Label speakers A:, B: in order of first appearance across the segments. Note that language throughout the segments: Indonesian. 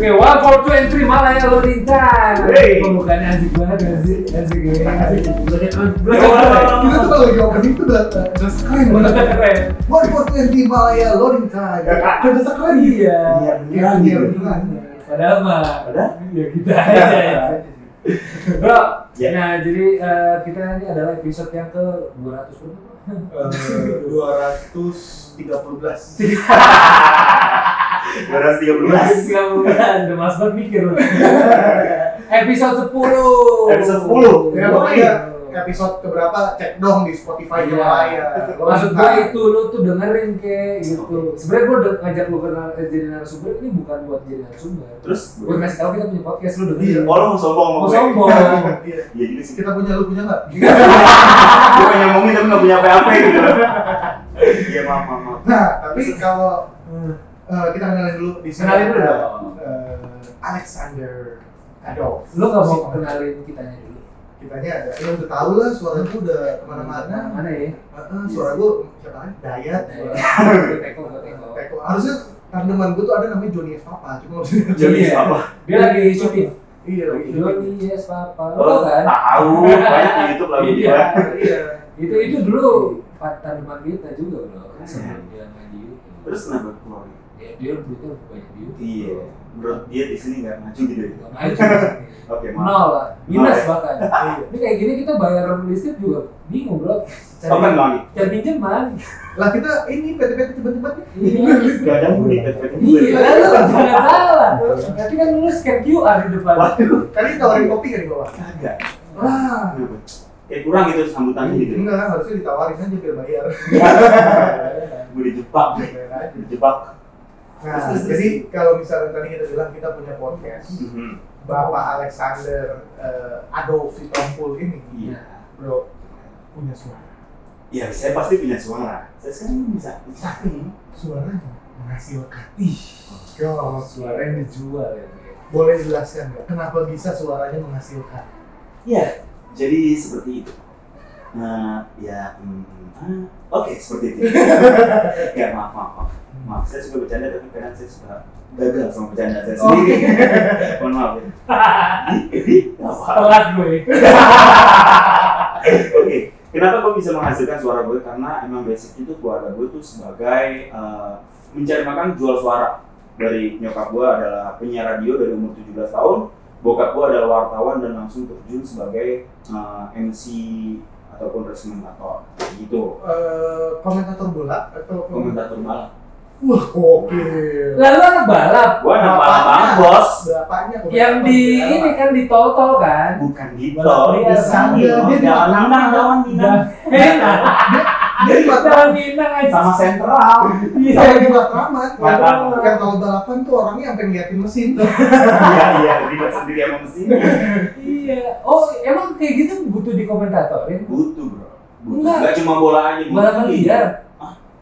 A: Oke, one for two and three malah yang lo rintan.
B: Hey.
A: Pembukaannya asik banget gak sih? Asik banget. Asik.
B: Yo,
C: Kita tuh kalau di opening tuh udah udah terasa keren banget.
A: Keren.
C: One for twenty Malaya loading time.
B: Ya, Kak.
C: Udah terasa keren
A: Iya.
B: Iya, beneran
C: Iya,
B: gitu.
C: beneran.
A: Padahal mah.
B: Padahal? Iya.
A: Ya kita aja. ya. Bro,
B: Ya.
A: nah jadi eh, kita ini adalah episode yang ke 200 berapa?
C: Eh,
D: dua ratus tiga puluh belas
B: dua ratus tiga puluh belas
A: Tiga bulan, udah mas banget mikir lu. Episode 10
B: Episode Iya. 10?
C: Ya pokoknya episode keberapa cek dong di Spotify
A: Iya.
C: Malaya.
A: Maksud
B: Nah,
A: gua itu lu tuh dengerin ke gitu. Sebenarnya gua udah ngajak lu ke nar- eh, jadi narasumber ini bukan buat jadi narasumber.
B: terus
A: Gua ngasih tau kita punya podcast lu
B: iya
A: dengerin.
B: oh lo mau sombong sama
A: Mau
B: gue
A: sombong.
C: Iya.
B: iya juga sih
C: Kita punya lu punya nggak?
B: gue pengen ngomongin tapi nggak punya apa-apa gitu iya maaf maaf maaf.
C: Nah tapi kalau eh, kita kenalin dulu di sini.
A: Kenalin dulu
C: ada,
A: dong.
C: eh, Alexander Adolf.
A: Lu gak mau
C: Si-
A: kenalin kitanya dulu?
C: Kitanya ada. Ya udah tau lah suara gua udah kemana-mana.
A: Mana ya?
C: Heeh, suara gua siapa lagi? Dayat. suara-
A: Gua teko, gua teko.
C: Teko. Harusnya tandeman gue tuh ada namanya Johnny F. Papa, cuma maksudnya
B: jadi
A: Iya.
B: apa
A: Dia lagi syuting.
C: iya lagi.
A: Johnny yes papa. Lu
B: lo
A: tau kan?
B: tahu banyak di YouTube lagu
A: Iya.
B: gue
C: Iya.
A: Itu itu dulu
B: Iya.
A: partner depan kita juga bro. Kan sebelum dia main di YouTube.
B: terus kenapa keluar
A: Ya, dia duitnya banyak di YouTube.
B: iya menurut dia di sini nggak maju gitu ya?
A: Gak maju.
B: oke maaf
A: Nol lah, minus
B: Nol ya?
A: bahkan.
C: Iya.
A: Ini kayak gini kita bayar listrik juga bingung bro.
B: Kapan
A: Cari,
B: lagi?
A: cari pinjaman.
C: Lah kita ini PT-PT tiba-tiba nih.
A: Iya.
B: Gak ada gue di pet-pet
A: Iya,
B: gue.
A: lu jangan salah. Nanti kan lu scan QR di depan.
B: Waduh,
C: Kali ditawarin kopi kan di bawah.
A: Iya.
B: kagak.
C: Wah.
B: Kenapa? Kayak kurang gitu sambutannya gitu.
C: Enggak, harusnya ditawarin aja biar bayar.
A: Iya,
B: Gue dijebak,
C: Bayar aja.
B: dijebak.
C: Nah, jadi kalau misalnya tadi kita bilang kita punya
A: Iya.
C: podcast,
B: Mhm.
C: Bapak Alexander eh, Adolf Sitompul ini,
B: Iya.
C: bro, punya suara.
B: Ya, saya pasti punya suara. Saya sekarang bisa sakti.
C: Suaranya menghasilkan. Ih, gokil.
A: Suara yang Oh, dijual ya. Bro.
C: Boleh jelaskan nggak kenapa bisa suaranya menghasilkan?
B: Iya. Jadi seperti itu. Nah, ya, hmm, ah, oke seperti itu. ya maaf, maaf, maaf. Maaf, saya suka bercanda tapi kadang saya suka gagal sama bercanda saya sendiri. Mohon maaf ya. Apa?
A: Telat gue.
B: Oke, kenapa gue bisa menghasilkan suara gue? Karena emang basic itu keluarga gue tuh sebagai eh, mencari makan jual suara. Dari nyokap gue adalah penyiar radio dari umur 17 tahun, bokap gue adalah wartawan dan langsung terjun sebagai eh, MC ataupun resmentator gitu
C: Eh, komentator bola atau
B: komentator balap
C: Wah, gokil.
A: Lalu anak balap
B: gue anak balap banget bos
C: Bapaknya komentator
A: yang di
C: bola.
A: ini kan di tol-tol kan.
B: bukan gitu
A: Balap liar.
B: Jangan
C: Iya,
B: dong,
C: dia di
B: jangan nendang lawan Minang
A: Nah, Enak.
C: Dia di Matraman.
A: Jangan eh, Nah, minang aja.
B: sama sentral
C: Iya, di Matraman.
B: Matraman.
C: Kan kalau balapan tuh orangnya sampai ngeliatin mesin.
A: Oh,
B: iya iya ribet sendiri sama mesin
A: Iya. Oh, emang kayak gitu butuh dikomentatorin?
B: butuh bro butuh
A: Enggak.
B: nggak cuma bola aja butuh
A: Balapan liar.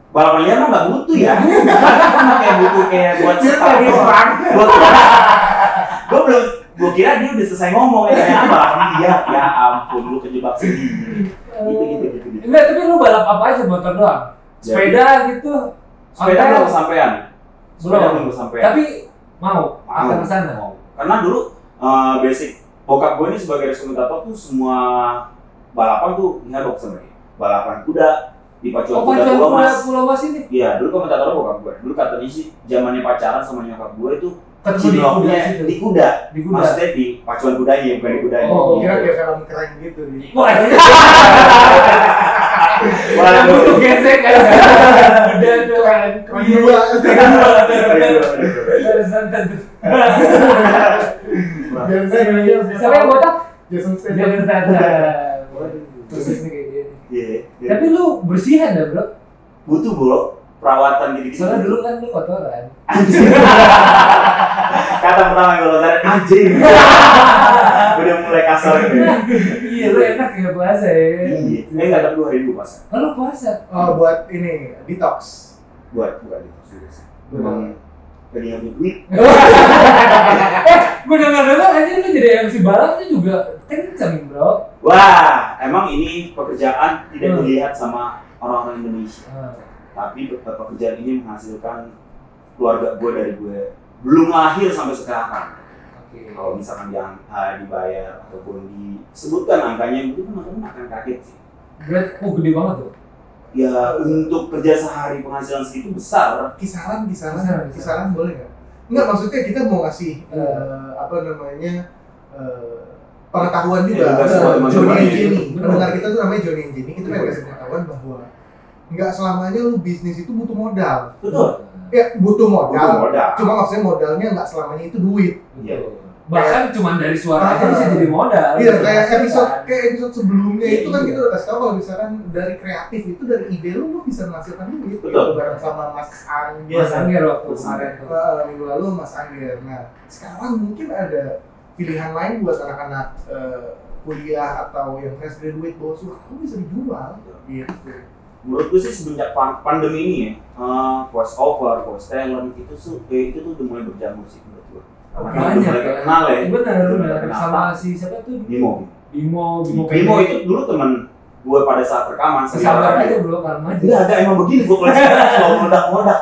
B: balapan liar mah nggak butuh ya kayak butuh kayak buat
A: Dia
B: start
A: pengen
B: doang buat gue belum gue kira dia udah selesai ngomong ya kayak balapan liar ya ampun lu kejebak sendiri gitu
A: Oh.
B: gitu gitu gitu
A: Enggak, tapi lu balap apa aja motor doang? Sepeda gitu.
B: sepeda
A: Ontel?
B: belum kesampaian sepeda
A: Belum.
B: belum kesampaian
A: Tapi mau akan ke sana.
B: karena dulu eh, basic bokap gue ini sebagai rekomentator tuh semua balapan tuh nyadok sebenarnya balapan kuda di pacuan
A: Oh,
B: kuda
A: panjang
B: gua,
A: pulau
B: mas
A: pulau mas ini
B: Iya, dulu komentator bokap gue. Dulu kata isi zamannya pacaran sama nyokap gue itu
A: ketemu di kuda
B: ciloknya
A: situ.
B: di kuda.
A: Di kuda.
B: Maksudnya di pacuan kudanya, bukan di kudanya.
A: Oh,
C: Kira kayak film keren gitu. Di.
A: Wah, ini
B: Waduh. Iya,
A: butuh gesek kan. Udah tuh kan.
C: Keren dua.
B: iya,
A: Horizontal.
C: Biar saya ngeliat
A: Siapa yang botak?
C: iya, Jason
A: Jangan
C: Statham.
A: sana. Terus ini kayak gini.
B: Iya, iya.
A: Tapi lu bersihan ya, Bro?
B: butuh bro perawatan gitu gitu.
A: Soalnya dulu kan lu kotoran.
B: Kata pertama yang gue lontarin anjing. Udah mulai kasar gitu.
A: Iya, lu enak ya puasa ya.
B: Iya. Eh nggak tapi dua ribu pas.
A: Lalu puasa.
C: Oh, buat ini detox.
B: Buat bukan itu serius. Memang tadi yang duit.
A: eh, gue dengar dengar aja lu jadi MC balap itu juga kenceng bro.
B: Wah, emang ini pekerjaan tidak
A: Hmm.
B: dilihat sama
A: Eh,
B: orang-orang Indonesia. tapi pe- pekerjaan ini menghasilkan keluarga gue dari gue belum lahir sampai sekarang
A: Oke.
B: kalau misalkan di, dibayar ataupun disebutkan angkanya itu teman-teman akan kaget sih
A: Berat, oh gede banget tuh.
B: ya untuk kerja sehari penghasilan segitu besar
C: kisaran kisaran
A: Kisaran,
C: kisaran, boleh nggak nggak maksudnya kita mau ngasih
A: Iya.
C: eh, apa namanya eh, pengetahuan juga
B: Edukasi Iya. buat
C: Eh,
B: teman-teman
C: Johnny and
B: ini.
C: Jenny
A: Benar.
C: pendengar kita tuh namanya Johnny and Jenny kita pengen
B: Betul.
C: kasih pengetahuan bahwa nggak selamanya lu bisnis itu butuh modal
B: betul
C: ya butuh modal
B: butuh modal
C: cuma maksudnya modalnya nggak selamanya itu duit
B: Iya.
A: Betul. Bahkan cuman dari suara aja
C: Ah.
A: bisa jadi modal. Kan?
C: Iya,
A: Bisa
C: kayak
A: dihasilkan.
C: episode kayak episode sebelumnya
B: Iya,
C: itu kan
B: iya.
C: kita udah kasih tau kalau misalkan dari kreatif itu dari ide lu lu bisa menghasilkan duit.
B: Betul. Iya,
C: Itu bareng sama Mas Angger.
A: Mas Angger waktu
B: Mas
A: Iya, kemarin tuh.
C: Eh, minggu lalu Mas Angger. Nah, sekarang mungkin ada pilihan lain buat anak-anak eh, kuliah atau yang fresh graduate bawa surat lu bisa dijual gitu.
B: menurutku sih semenjak pan- pandemi ini ya eh, voice over voice talent itu su- eh, itu tuh udah mulai berjamur sih menurut gua karena kan udah
A: Banyak
B: mulai
A: ya.
B: kenal ya
A: Benar, benar.
B: Kenapa?
A: Sama si siapa tuh?
B: Bimo
A: Bimo, Bimo. Iya,
B: Bimo Iya. itu dulu temen gue pada saat rekaman
A: Sabar
B: sendiri.
A: aja bro, kalem aja.
B: Enggak ada emang begini gue koleksi selalu meledak-meledak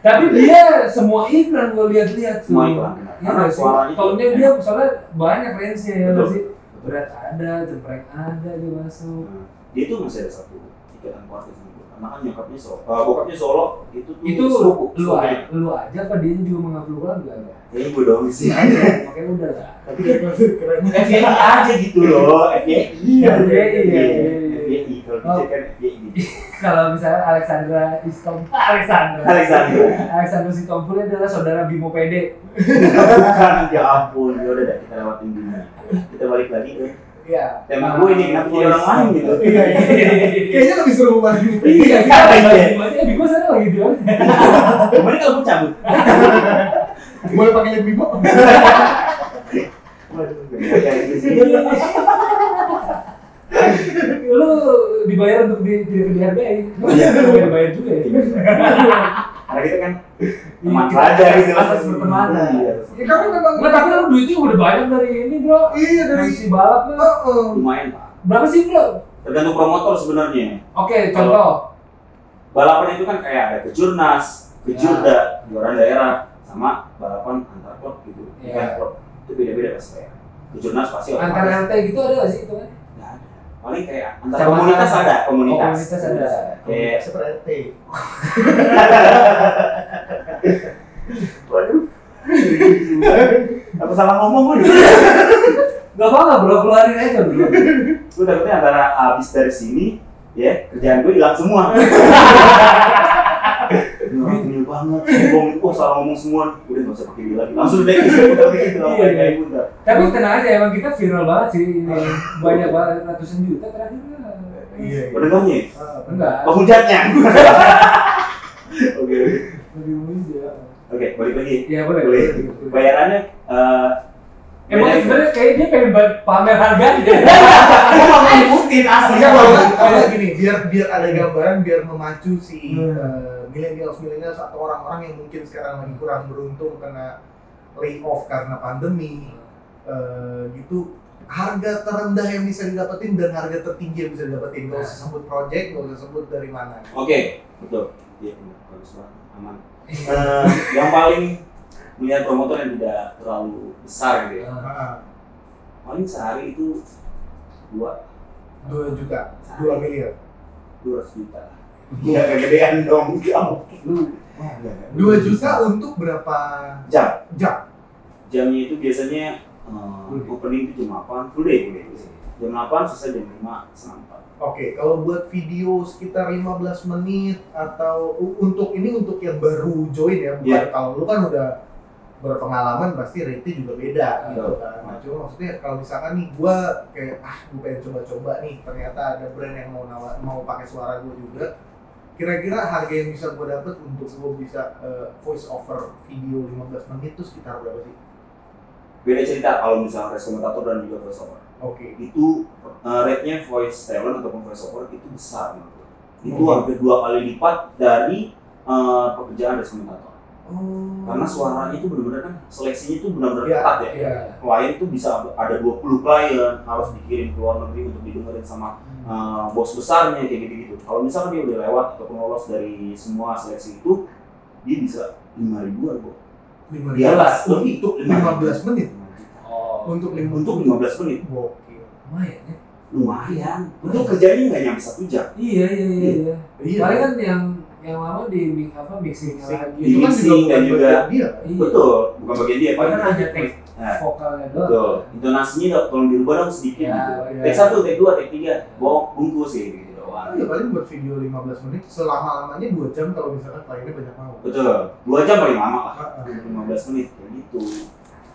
A: Tapi dia semua iklan gue lihat-lihat tuh.
B: semua iklan
A: Iya
B: karena
A: nggak sih?
B: suaranya
A: Tahunnya dia soalnya banyak range-nya ya nggak
B: Betul.
A: sih? Berat ada, jempreng ada dia masuk.
B: Nah, dia tuh masih ada satu ikatan keluarga sama gue karena kan nyokapnya solo eh, bokapnya solo itu tuh
A: Itu
B: serupu
A: lu, a- lu aja apa dia juga mengambil keluarga ya?
B: ya gue dong sih
A: Makanya udah lah.
C: Tapi keren.
B: FYI aja gitu loh FYI
A: Iya, iya, iya, iya.
B: FYI kalau dicek kan FYI gitu
A: Kalau misalnya Alexandra Istom, Alexandra.
B: Alexandra.
A: Alexandra Sitompul adalah saudara Bimo Pede.
B: bukan ya ampun ya udah dah, kita lewatin dulu kita balik lagi ke
C: Iya.
B: tema gue ini kenapa jadi orang lain gitu
C: Iya, iya. Kayaknya lebih seru banget.
A: Iya, kan?
B: iya.
A: Makanya Bimo sana lagi di mana?
B: kemarin kalau gue cabut
C: Boleh pakai lebih Bimo.
B: Waduh, gak kayak gitu sih
A: Lu dibayar untuk di tidak dihargai.
B: Iya.
A: Lu bayar juga ya.
B: karena kita kan teman saja gitu
A: Asas pertemanan.
B: Iya,
C: Ya karena memang
A: Nggak, tapi lu duitnya udah banyak dari ini bro.
C: Iya
A: Dari
C: dari
A: si balap lu.
C: Oh, oh.
B: lumayan pak
A: Berapa sih bro?
B: tergantung promotor sebenarnya
A: Oke, contoh.
B: balapan itu kan kayak ada kejurnas, kejurda, juara daerah, sama balapan antar klub gitu.
A: Iya.
B: Bukan klub itu beda-beda pasti kayak kejurnas pasti
A: Antara
B: otomatis.
A: RT gitu ada nggak sih itu kan?
B: Nggak ada. Paling kayak antar
A: Kecamatan.
B: komunitas ada, komunitas.
A: Komunitas ada.
C: eh,
B: Kayak
C: seperti
B: waduh. Apa salah ngomong gue?
A: Gak apa-apa bro, keluarin aja bro.
B: Gue takutnya antara abis dari sini, ya kerjaan gue hilang semua. Ini orang kenyal banget, sombong. Wah salah ngomong semua. Udah nggak usah pakai dia lagi. Langsung deh. Gitu.
A: Iya, iya.
B: Kayak bunda.
A: Tapi tenang aja emang kita viral banget sih. Ini Banyak banget ratusan juta terakhir lah.
C: Iya.
B: Pendengarnya ya?
C: Ah,
A: Enggak.
B: penghujatnya oke oke
A: Lebih mudah.
B: oke balik lagi
A: Iya boleh.
B: Boleh.
A: boleh.
B: bayarannya eh
A: Emang
B: beda-
A: sebenarnya kayak dia pengen ba- pamer harganya.
B: Gua nggak mau nyebutin asli
C: Enggak, kalau enggak, kalau enggak gini, biar biar ada gambaran, biar memacu si
A: Hmm.
C: eh, millennials millennials atau orang-orang yang mungkin sekarang lagi kurang beruntung kena layoff karena pandemi, eh, gitu. Harga terendah yang bisa didapetin dan harga tertinggi yang bisa didapetin. Gak usah sebut project, gak usah sebut dari mana.
B: oke betul iya benar bagus banget aman Eh, yang paling melihat promotor yang tidak terlalu besar gitu ya
C: Ah,
B: paling sehari itu dua
C: Dua juta, dua miliar,
B: dua ratus juta Iya, kegedean dong kamu.
A: Lu
B: Wah, enggak, enggak.
C: dua juta untuk berapa
B: jam.
C: jam?
B: Jamnya itu biasanya eh,
A: Full day.
B: opening itu jam 8, full day, full day. Jam 8 selesai jam 5 sampai 4.
C: Oke, kalau buat video sekitar 15 menit atau u- untuk ini untuk yang baru join ya, bukan
B: Iya.
C: kalau lu kan udah berpengalaman pasti rate juga beda gitu kan. Nah, cuma maksudnya kalau misalkan nih gua kayak ah gua pengen coba-coba nih, ternyata ada brand yang mau nawa- mau pakai suara gua juga. Kira-kira harga yang bisa gua dapet untuk gua bisa eh, voice over video 15 menit itu sekitar berapa sih?
B: beda cerita kalau misalnya voice komentator dan juga voice over
C: Oke.
B: itu uh, rate-nya voice talent ataupun voice over itu besar menurut gue. itu
C: Hmm.
B: hampir dua kali lipat dari uh, pekerjaan voice komentator
C: Oh.
B: karena suaranya itu benar-benar kan seleksinya itu benar-benar
C: Iya,
B: ketat ya
C: iya.
B: klien itu bisa ada 20 klien harus dikirim ke luar negeri untuk didengerin sama uh, bos besarnya kayak gitu gitu kalau misalnya dia udah lewat ataupun lolos dari semua seleksi itu dia bisa lima ribuan kok
C: lima
B: Di atas,
C: ribu.
B: lebih.
C: untuk Iya. lima belas menit
A: Oh,
C: untuk lima
B: untuk 15 menit
C: Gokil.
A: lumayan ya.
B: lumayan itu kerjanya nggak nyampe satu jam
A: Iya iya iya. iya.
C: Iya.
A: Paling kan yang yang lama di mi- apa mixing lagi.
B: Di
C: kan
B: mixing Iya. dan juga-
C: bagian dia.
A: Iya.
B: betul bukan bagian dia
A: Paling
B: paling
A: kan hanya take
B: Nah.
A: vokalnya
B: betul
A: doang.
B: intonasinya dong, tolong dirubah dong sedikit
A: Ya,
B: gitu
A: iya.
B: take satu take dua take tiga bohong bungkus sih gitu
C: Ah,
B: doang
C: ya paling buat video 15 menit selama lamanya 2 jam kalau misalkan kliennya banyak mau.
B: betul dua jam paling lama lah
C: Ah, ah.
B: 15 menit kayak gitu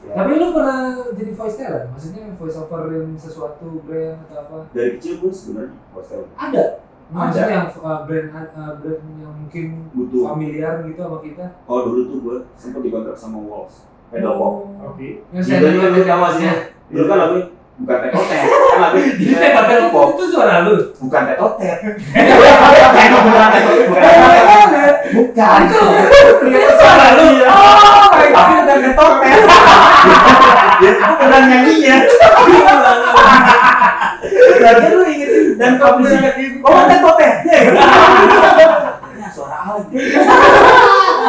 B: Ya,
A: Tapi lu pernah jadi voice talent? Maksudnya voice overin sesuatu brand atau apa?
B: dari kecil pun sebenarnya hostel
A: Ada. Maksudnya
B: Ada.
A: yang uh, brand uh, brand yang mungkin
B: butuh
A: familiar gitu sama kita.
B: oh dulu tuh gue sempet dikontrak sama Walls pedal pop
C: Oke.
A: Yang
B: Jadi kan lu tahu sih dulu kan lagunya bukan tetotet kan lagunya
A: Jadi kayak
B: pedal
A: pedal
B: pop
A: pop itu suara lu.
B: bukan tetotet Emang bukan tetotet bukan bukan
A: Itu itu suara lu. Oh my
B: tapi
A: god.
B: bukan tetotet ya bukan nyanyinya dan lu ingetin dan kau bisa oh tetotet suara Alex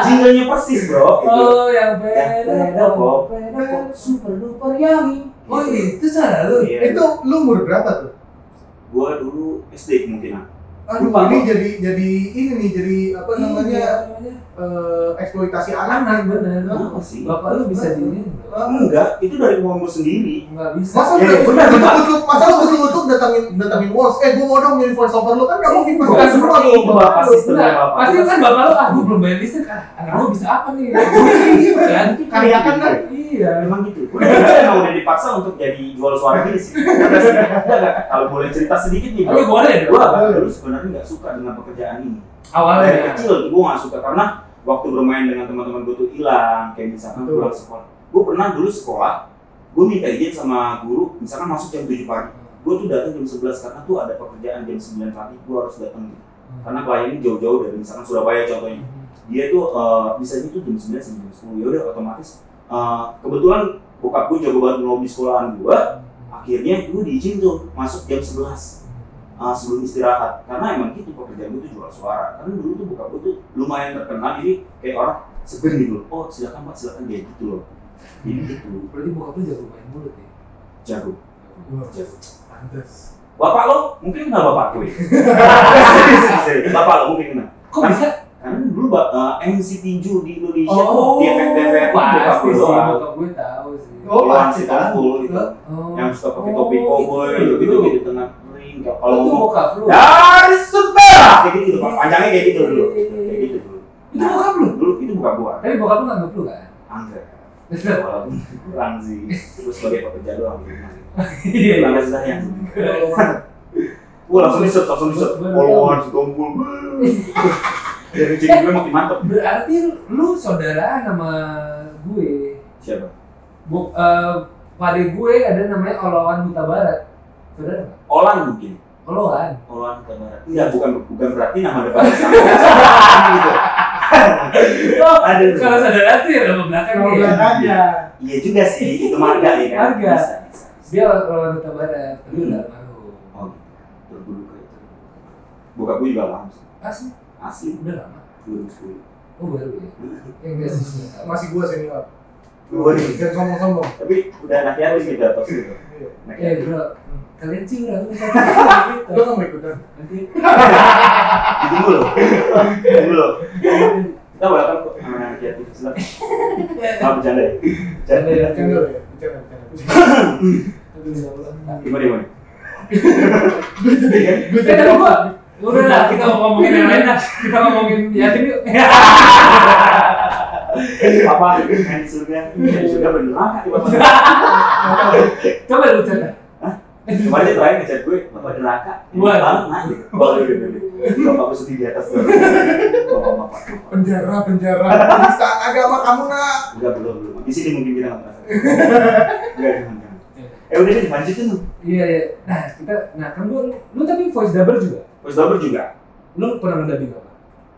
B: jinglenya persis bro Itu.
A: Oh yang
B: Pedal
A: pedal
B: pop.
A: pop.
B: Pedal pop. super duper yummy
A: Oh itu suara lu.
B: Iya.
C: Itu lu umur berapa tuh?
B: gua dulu SD kemungkinan
C: Aduh,
B: Lupa,
C: ini
B: Bang.
C: jadi jadi ini nih jadi apa namanya
A: Iya,
C: eh, eksploitasi
A: anak
C: anak nih.
A: bener.
B: kenapa sih
A: Bapak lu bisa di ini.
C: Eh,
B: enggak itu dari uang gua sendiri
A: Enggak bisa. Eh,
C: Masa
B: Hmm. Iya,
C: lu
B: bener, bener.
C: kutuk masa lu kutuk datangin datangin walls. Eh, gua mau dong jadi voice over lu kan gak mungkin pas
B: Bukan gitu.
C: kan semua
B: seperti itu
C: tuh.
B: bapak sistemnya
A: Nah,
B: bapak.
A: pasti kan bapak lu ah gua belum bayar listrik ah anak gua bisa apa nih kan
C: Karyakan kan?
A: iya
B: Emang gitu. Gue emang udah dipaksa untuk jadi jual suara gini sih. Karena sih, enggak, enggak. Kalau boleh cerita sedikit nih,
A: tapi
B: bro.
A: boleh
B: Gue
A: dong
B: dulu sebenarnya nggak suka dengan pekerjaan ini.
A: awalnya
B: Dari kecil gue nggak suka karena waktu bermain dengan teman-teman gue tuh hilang. Kayak misalkan
C: Betul.
B: pulang sekolah. Gue pernah dulu sekolah, gue minta izin sama guru, misalkan masuk jam 7 pagi. Gue tuh datang jam 11 karena tuh ada pekerjaan jam 9 pagi, gue harus datang. Karena kliennya jauh-jauh dari misalkan Surabaya contohnya dia tuh eh, bisa itu jam 9 sampai jam 10 ya udah otomatis eh, kebetulan bokap gue jago banget ngelobi sekolahan gue akhirnya gue diizin tuh masuk jam 11 eh, sebelum istirahat karena emang gitu pekerjaan gue tuh jual suara karena dulu tuh bokap gue tuh lumayan terkenal jadi kayak orang seger gitu loh oh silakan pak silakan dia gitu loh jadi gitu
A: berarti bokap lu jago main mulut ya? nih
B: jago
C: Wah,
B: jago
C: Pantes.
B: bapak lo mungkin kenal bapak gue bapak lo mungkin kenal
A: kok bisa
B: karena dulu Pak, eh, MC tinju di Indonesia
A: oh
B: tuh di FFTV kan, bokap
A: pasti
B: gue
A: sih
B: doang
A: bokap gue tahu sih
C: Oh,
B: Iwan
C: pasti
B: Sitampul
C: tahu.
B: gitu.
A: Oh.
B: Yang suka pakai topi
A: Oh,
B: cowboy
A: itu
B: gitu
A: dulu.
B: gitu di tengah ring. Kalau Ya.
A: itu
B: ngomong
A: bokap lu
B: dari Sutera kayak gitu gitu. Pak. Panjangnya kayak gitu dulu.
A: Iya, iya, iya.
B: Kayak gitu dulu.
A: itu bokap lu
B: Dulu itu bukan gua.
A: tapi bokap lu nganggep lu kan Iya.
B: Angga. Walaupun kurang sih. Terus sebagai pekerja doang di rumah.
A: iya iya.
B: Kurang sudah yang. Wah langsung di set, langsung di set. Followan, setompul. Dari jadi gue makin mantep.
A: berarti lu saudara sama gue
B: Siapa?
A: Bu, pada gue ada namanya Olawan Huta Barat. Saudara nggak?
B: Olan mungkin.
A: Olawan.
B: Olan Huta Barat. Iya bukan bukan berarti nama depannya sama. Gitu. Aduh.
A: Kalau saudara tuh ya nama belakang
C: Kalau
A: ya.
C: belakangnya.
B: Iya juga sih, itu marga ya kan.
A: Marga.
B: Bisa, bisa, bisa.
A: Dia Olawan Huta Barat, tapi
B: Hmm.
A: udah almarhum.
B: Oh gitu. Berbulu ke itu. Bokap gue juga lama sih.
A: Asli,
B: Asli
A: Ah, udah lama.
B: 2010.
A: Oh baru ya. Ya enggak sih. Mas
C: iya. Masih gua senior.
B: Gua nih.
C: Jangan sombong-sombong.
B: Tapi udah anak yatim kita pas gitu.
C: Iya.
B: Anak
A: eh
B: yatim.
A: bro, kalian sih udah lama gitu.
C: Lu nggak mau ikutan?
A: Nanti
B: Ditunggu loh. Ditunggu loh. Kita welcome kok sama anak yatim silakan. Ah bercanda ya. Bercanda ya.
C: Bercanda lu ya? Bercanda, bercanda.
A: Aduh, ya Allah.
B: Gimana gimana?
C: Gua
A: Eh,
C: jadi gua jadi
B: Iya,
A: tapi gua- Udah lah, kita mau ngomongin yang lain lah. Kita ngomongin yatim yuk.
B: Apa? Main di surga. Main di surga beneran tiba
A: Coba lu cerita.
B: Kemarin dia terakhir ngechat gue, bapak neraka.
A: Wah.
B: Bapak naik. Bapak udah udah udah. Bapak gue sedih di atas. Bapak bapak.
C: penjara penjara penistaan agama kamu nak
B: Enggak belum belum. Di sini mungkin kita nggak merasa. Enggak jangan jangan. Eh udah deh lanjutin tuh.
A: Iya, iya. Nah, kita, nah kan lu, lu tapi voice dubber juga.
B: Voice dubber juga.
A: Lu pernah ngedubbing apa?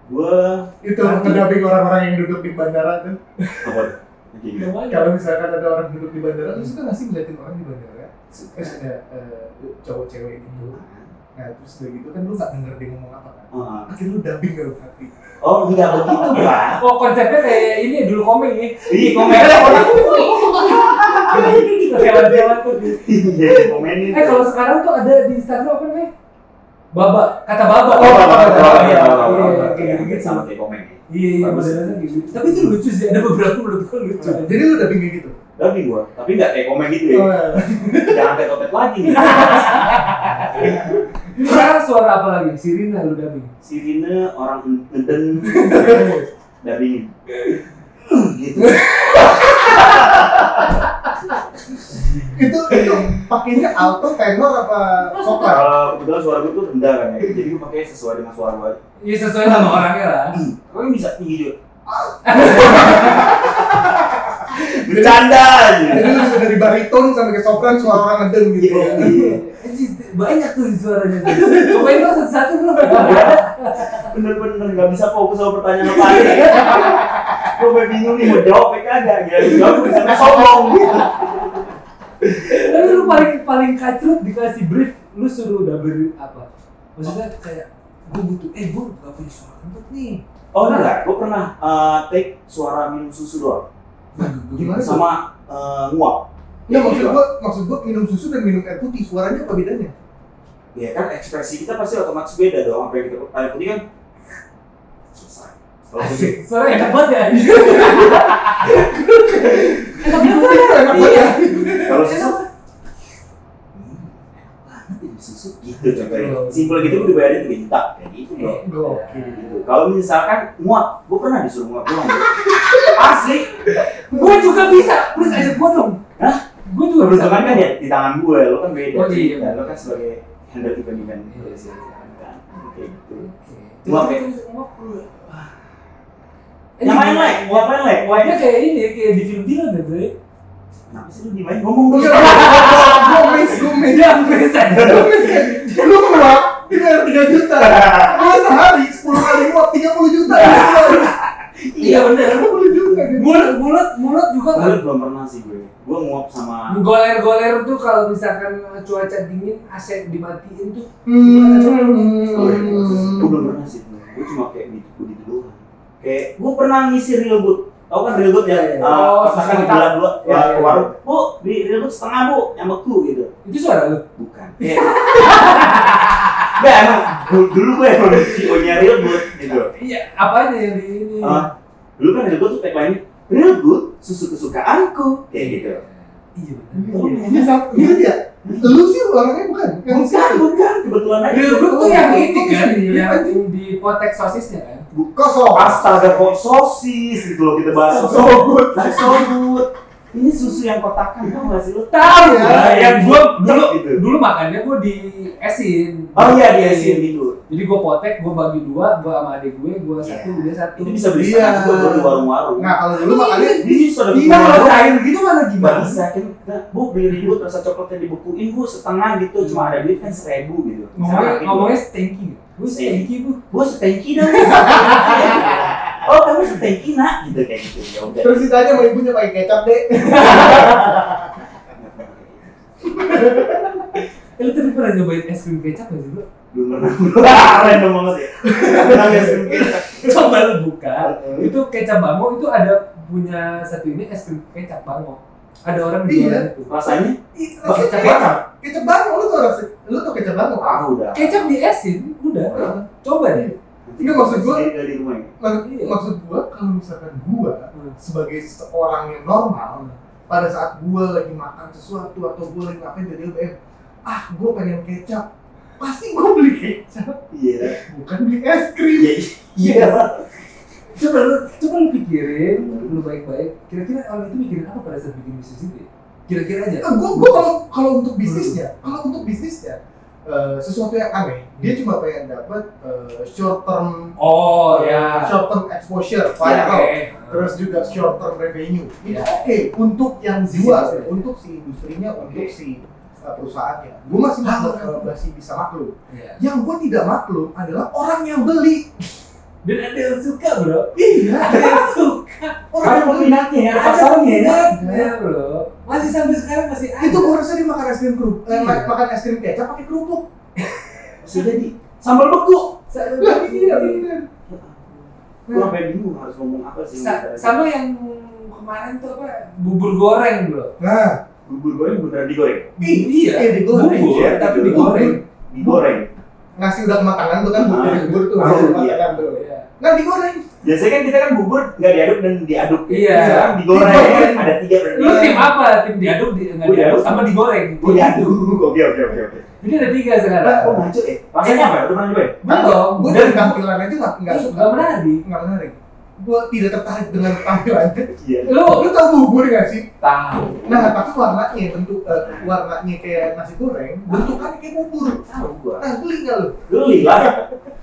B: Gue
C: itu
B: Nah, iya.
C: ngedamping orang-orang yang duduk di bandara tuh
B: apa? tuh? Kayak gini.
C: kalau misalkan ada orang
B: Iya.
C: duduk di bandara lu suka nggak sih ngeliatin orang di bandara eh,
B: Suka. Iya.
C: ada eh, cowok cewek gitu Nah terus udah gitu kan lu gak denger dia ngomong apa kan
B: Heeh.
C: Akhirnya lu dubbing dalam hati
B: Oh nggak begitu bang. Iya,
A: Oh konsepnya kayak ini ya, dulu komik ya.
B: Ih komennya orang.
A: Lewat-lewat tuh.
B: Iya komenin.
A: Eh kalau sekarang tuh ada di Instagram apa namanya? Baba, kata baba.
B: Oh, apa apa apa
A: Iya,
B: apa
A: iya,
B: apa
A: kayak gitu.
B: sama kayak komen ya.
A: Iya, iya,
B: Bagus.
A: modelannya gitu. Tapi itu lucu sih, ada beberapa menurut gue lucu.
C: Jadi lu dubbing kayak gitu
B: Tapi gua, tapi nggak kayak komen gitu ya.
C: Oh,
B: Jangan tetot lagi.
A: Sekarang suara apa lagi? Sirina lu dubbing.
B: Sirine orang ngeden dari gitu.
C: itu itu pakainya alto tenor apa sopran
B: Kalau kebetulan suara gue tuh rendah kan ya, jadi gue pakai sesuai dengan suara gue.
A: Iya sesuai sama orangnya lah.
B: Kau yang bisa tinggi juga. Bercanda aja.
C: jadi lu bisa dari bariton sampai ke sopran suara orang ngeden gitu
B: Iya,
C: ya
B: iya.
A: Anjir, Banyak tuh suaranya. tuh. Cobain lo satu-satu belum ada.
B: Bener-bener nggak bisa fokus sama pertanyaan apa aja. Gue gue bingung nih mau jawab apa kagak. Gila, jawab gue bisa sombong.
A: Tapi lu paling paling kacrut dikasih brief, lu suruh double apa? Maksudnya kayak gue butuh, eh gue gak punya suara kentut nih.
B: Oh enggak, gue pernah eh, take suara minum susu doang
C: gimana sih
B: sama eh, nguap.
C: Nggak, Iya, maksud gua maksud gua minum susu dan minum air putih suaranya apa bedanya
B: Ya kan ekspresi kita pasti otomatis beda dong. Apa yang kita air putih kan selesai. Kalau putih,
A: Suara enak banget ya. enak
C: Iya,
A: banget.
C: enak banget ya
B: kalau susu banget ini susu gitu contohnya simpel gitu udah bayarin tuh minta kayak gitu
C: Iya.
B: dong
C: gokil
B: gitu. kalau misalkan nguap gue pernah disuruh nguap doang bro. asli
A: Gue juga bisa, please ajak gue dong.
B: Hah?
A: Gue juga
B: lu
A: bisa.
B: kan kan ya di tangan gue lo kan beda
A: Oh, iya, iya.
B: Nah, lo kan sebagai handle event event
A: Iya, iya, iya.
B: kayak gitu
A: Oke.
B: Nguap ya?
C: Eh,
B: yang lain lek nguap lain lek nguap
A: Dia kayak ini, kayak di film Dylan ya, Bre.
B: kenapa sih lu dimain ngomong dulu
C: Iya, Gomes, gomes,
A: Dia ambil saja.
C: gomes kan? Lu nguap, itu bayar 3 juta Lu sehari 10 kali nguap 30 juta
A: Iya bener.
C: 30 juta gitu.
A: Mulut, mulut, mulut juga kan.
B: gue belum pernah sih gue gue nguap sama
A: Goler-goler tuh kalau misalkan cuaca dingin AC dimatiin tuh
B: gue ya. belum pernah sih gue cuma kayak gitu gue gitu doang kayak gue pernah ngisi real good tau kan real good ya
C: Iya, iya.
B: eh,
A: Oh,
B: pasangan di
A: sesuatu.
B: bulan dua
C: Iya,
B: ya,
C: iya,
B: ke warung bu di real good setengah bu yang beku gitu
A: itu suara lu.
B: bukan nggak emang du- dulu gue emang CEO nya real good gitu
A: Iya, apa aja yang di ini?
C: Hmm.
B: Eh, dulu kan real good tuh tagline real good susu kesukaanku kayak gitu
A: Iya bener.
C: Ini sama, ini dia. Iya, Lu sih orangnya bukan? Yang
B: bukan bukan kebetulan aja
A: Real Good tuh
C: Oh,
A: yang
C: Real
A: ini
C: Good
A: kan,
C: sendiri,
A: yang
C: anjing.
A: di potek sosisnya kan.
C: kosong.
B: pasta ada kok sosis gitu loh kita bahas sosis
C: Sogut.
B: Nah, sogut ini susu yang kotakan tau gak sih lu
A: Tahu
C: Iya.
A: lah, yang gua dulu
B: Gitu.
A: dulu makannya gua di esin.
B: Oh iya di Asian gitu.
A: Jadi gua potek, gua bagi dua, gua sama adik gue, gua satu, dia satu.
B: Iya. Itu bisa beli
C: Iya.
B: setengah juga baru di warung-warung.
C: Nah, kalau dulu makannya
B: ini sudah
A: Iya, kalau
B: warung.
A: cair gitu mana
B: Nggak
A: gimana?
B: bisa kan? Nah, bu beli ribut rasa coklatnya dibekuin bu setengah gitu cuma ada duit kan seribu gitu.
A: Ngomongnya,
B: Sama,
A: ngomongnya stinky. Gua stinky bu.
B: bu setengki dong. oh kamu setengki nak gitu kayak gitu ya udah.
C: terus ditanya sama ibunya pakai kecap deh.
A: Eh, lu tadi pernah nyobain es krim kecap gak sih lu?
B: Belum pernah. Random banget ya. Pernah nggak sih?
A: Coba lu buka. Itu kecap bango itu ada punya satu ini es krim kecap bango. Ada orang jualan
C: Iya.
A: itu.
B: Rasanya?
C: Ih,
B: Bang,
C: Kecap
B: kecap.
C: Kecap banget lu tuh rasa lu tuh kecap banget.
B: Ah udah.
A: Kecap di esin, udah. Coba deh.
C: Nggak, maksud gua-
B: Jadi Dari rumah ya.
C: Maksud,
A: Iya.
C: maksud gua kalau misalkan gua
A: Hmm.
C: sebagai seorang yang normal pada saat gua lagi makan sesuatu atau gua lagi ngapain jadi LBM ah gua pengen kecap pasti gua beli kecap
B: Iya.
C: bukan beli es krim
B: Iya. Iya.
A: Coba lu, coba lu pikirin, lu baik-baik. Kira-kira orang itu mikirin apa pada saat bikin bisnis itu? ya? Kira-kira aja.
C: Eh, gua gua kalau kalau untuk
A: Hmm.
C: bisnisnya kalau untuk bisnisnya eh, sesuatu yang aneh dia
A: Hmm.
C: cuma pengen dapat eh, short term
A: Oh ya. Iya,
C: short term exposure viral terus juga short term revenue itu
A: Ya.
C: oke untuk yang
A: Sisi
C: jual
A: bisnis.
C: untuk si industrinya untuk
B: Oke.
C: si uh, perusahaannya gue masih maklum, uh, masih bisa maklum
A: Iya.
C: yang gue tidak maklum adalah orang yang beli
A: Dan ada yang suka bro.
C: iya
A: Ada yang suka.
C: orang
B: Ada
C: yang beli
B: peminatnya, ada pasarnya.
A: Pasarnya
B: ya.
A: ya bro. Masih sampai sekarang masih ada.
C: itu gue rasa dia makan es krim kerupuk eh,
A: Iya.
C: ma- makan es krim kecap pakai kerupuk
B: bisa jadi sambal beku
A: Sa-
C: Lah, iya, bener.
B: gue sampai bingung harus ngomong apa sih
A: Sa- sama yang kemarin tuh apa bubur goreng bro
C: Nah,
B: bubur goreng beneran digoreng
A: Ih,
C: iya, digoreng,
A: bubur
B: iya,
A: tapi
B: digoreng.
A: digoreng
B: digoreng
C: nasi udah kematangan tuh kan
B: Ah,
C: bubur bubur tuh.
B: ah,
C: udah
B: iya.
C: kematangan tuh.
A: Iya.
C: Nah, digoreng.
B: biasanya kan kita kan bubur nggak diaduk dan diaduk
A: Iya.
B: sekarang digoreng
C: Digoreng.
B: ada tiga berarti
A: lu tim apa tim diaduk di nggak
B: Gua
A: diaduk
B: diaduk.
A: sama digoreng
B: Gua diaduk oke oke oke oke
A: jadi ada tiga sekarang
B: Pak, kok ngaco ya? Pakainya apa? Udah pernah nyoba ya?
A: belum
C: Gue dari tampilan aja nggak nggak suka.
A: nggak menarik
C: Nggak menarik. Gue tidak tertarik dengan tampilannya.
B: Iya
A: lu
C: Lu tau bubur nggak sih?
A: tahu
C: Nah, tapi warnanya bentuk eh, warnanya kayak nasi goreng, bentukannya kayak bubur.
B: Tahu gua
C: Nah, beli nggak lu?
B: Geli lah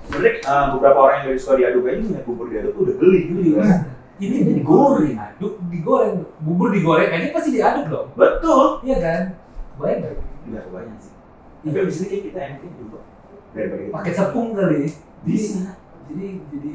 B: Sebenernya eh, beberapa orang yang dari suka diaduk aja Ngeliat bubur diaduk tuh udah geli gitu
A: Beli,
B: kan.
A: Mas. ini dia digoreng aduk digoreng bubur digoreng kayaknya pasti diaduk dong
B: Betul
A: iya kan kebayang nggak
B: Enggak kebayang sih Tapi abis ini kayak kita enaknya juga Daripada kita
A: pakai tepung kali
B: Bisa
A: jadi jadi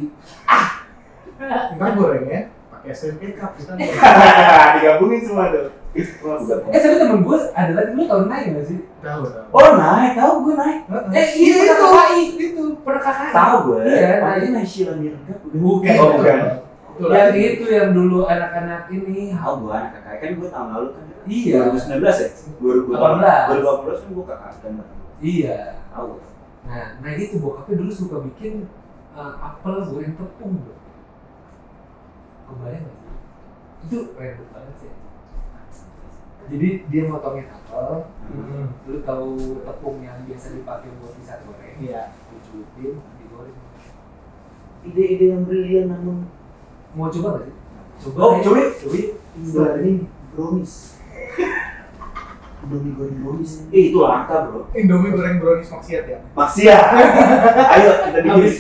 C: Ntar gorengnya ya, pakai SMP cup kita.
B: Hahaha, Digabungin semua tuh Wah, bukan.
A: eh tapi temen gue ada lagi lu tahun naik nggak sih
C: Tahu tahu.
B: Oh naik, tahu gue naik
A: eh
C: iya,
A: iya
C: itu.
A: itu KKI
C: itu.
A: pernah KKI
B: Tahu gue
A: Iya,
B: Pakai
A: naik.
B: naik Sheila Miranda
C: iya.
A: Bukan. Iya,
B: Oh bukan
C: Itu
A: yang
C: lagi.
A: itu yang dulu anak-anak ini
B: Tahu gue anak kakak Kan gue tahun lalu kan
A: iya
B: 2019 ya?
A: 18.
B: 2018 kan gue kakak kan
A: iya
B: Tahu
A: nah nah itu bokapnya dulu suka bikin eh, apel goreng tepung bro kebayang nggak sih? itu random banget sih jadi dia motongin apel
C: Hmm,
A: lu tahu tepung yang biasa dipakai buat pisang goreng
C: Iya.
A: dicubitin digoreng
B: Ide-ide yang brilian namun
A: mau coba nggak sih coba
B: Oh,
A: ya.
B: curi, curi. Ini brownies. Indomie goreng brownies. Eh, itu langka, Bro.
C: Indomie goreng brownies maksiat ya.
B: Maksia. Ayo kita bikin.
A: Habis.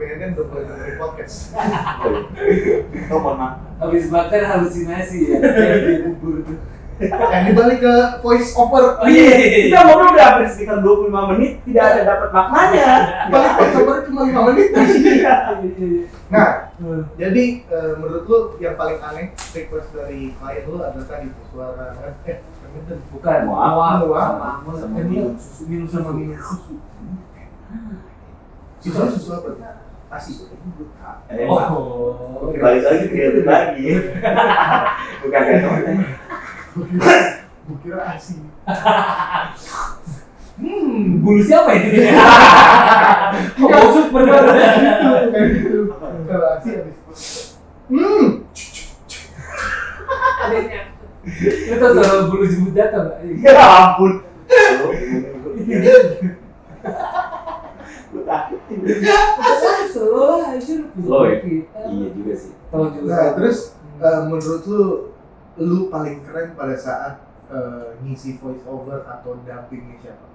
C: Pengennya udah boleh dengerin podcast.
B: Kau pernah?
A: habis makan halusinasi ya jadi dia bubur tuh
C: Eh, ini balik ke voice over.
A: Oh, iya.
B: Kita ngobrol udah hampir sekitar 25 menit, tidak ada dapat maknanya.
C: Balik voice over cuma 5 menit. Nah,
A: Hmm.
C: jadi eh, menurut lu yang paling aneh request dari klien lu adalah tadi tuh suara eh pengen
A: bukan
B: Muak.
A: muak
C: Muak.
A: sama amal
B: Sama
A: Eh,
B: minum
A: minum susu minum
C: sama
A: sama
C: minum susu. Itu susu apa? Kasih.
B: Eh,
A: oh
B: Pak, balik lagi kreatif lagi. Bukan kayak teman.
C: Gue kira asin.
A: hmm bulu siapa ini Oh, maksud bener
C: Gitu, kayak gitu. Kalau asin habis. Hmm.
A: itu tau soal bulu jembut datang nggak? Iya.
B: Ya ampun. Gue takut.
A: Solo anjir
B: Oh, iya.
A: kita
B: Iya juga sih.
A: Tahu juga.
C: Nah, terus eh, menurut lu lu paling keren pada saat eh, ngisi voice over atau dubbingnya siapa?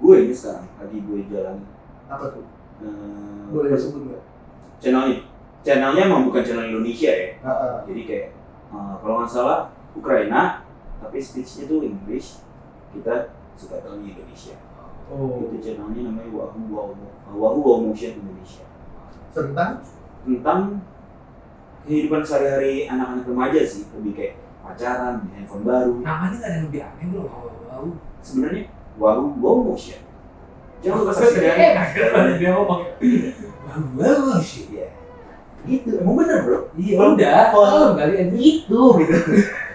B: Gue ini sekarang lagi gue jalan
C: Apa tuh?
B: eh,
C: Boleh sebut nggak?
B: channelnya channelnya emang bukan channel Indonesia ya
C: Ah, ah.
B: jadi kayak eh, kalau nggak salah Ukraina tapi speechnya tuh English kita suka tahunya Indonesia
C: Oh,
B: itu channelnya namanya Wahoo Wow Wahoo Wow Motion Indonesia
C: tentang
B: tentang kehidupan sehari-hari anak-anak remaja sih lebih kayak pacaran beli handphone baru
A: namanya nggak ada yang lebih aneh bro. Wow.
B: sebenarnya Wahoo Wow Motion
A: Iya,
B: jangan lupa
A: Terus dia
B: subscribe
A: dia ngomong. Wow, wow, shit.
B: ya gitu emang bener bro
A: Iya udah. Kalau Iya. kali anjir.
B: gitu gitu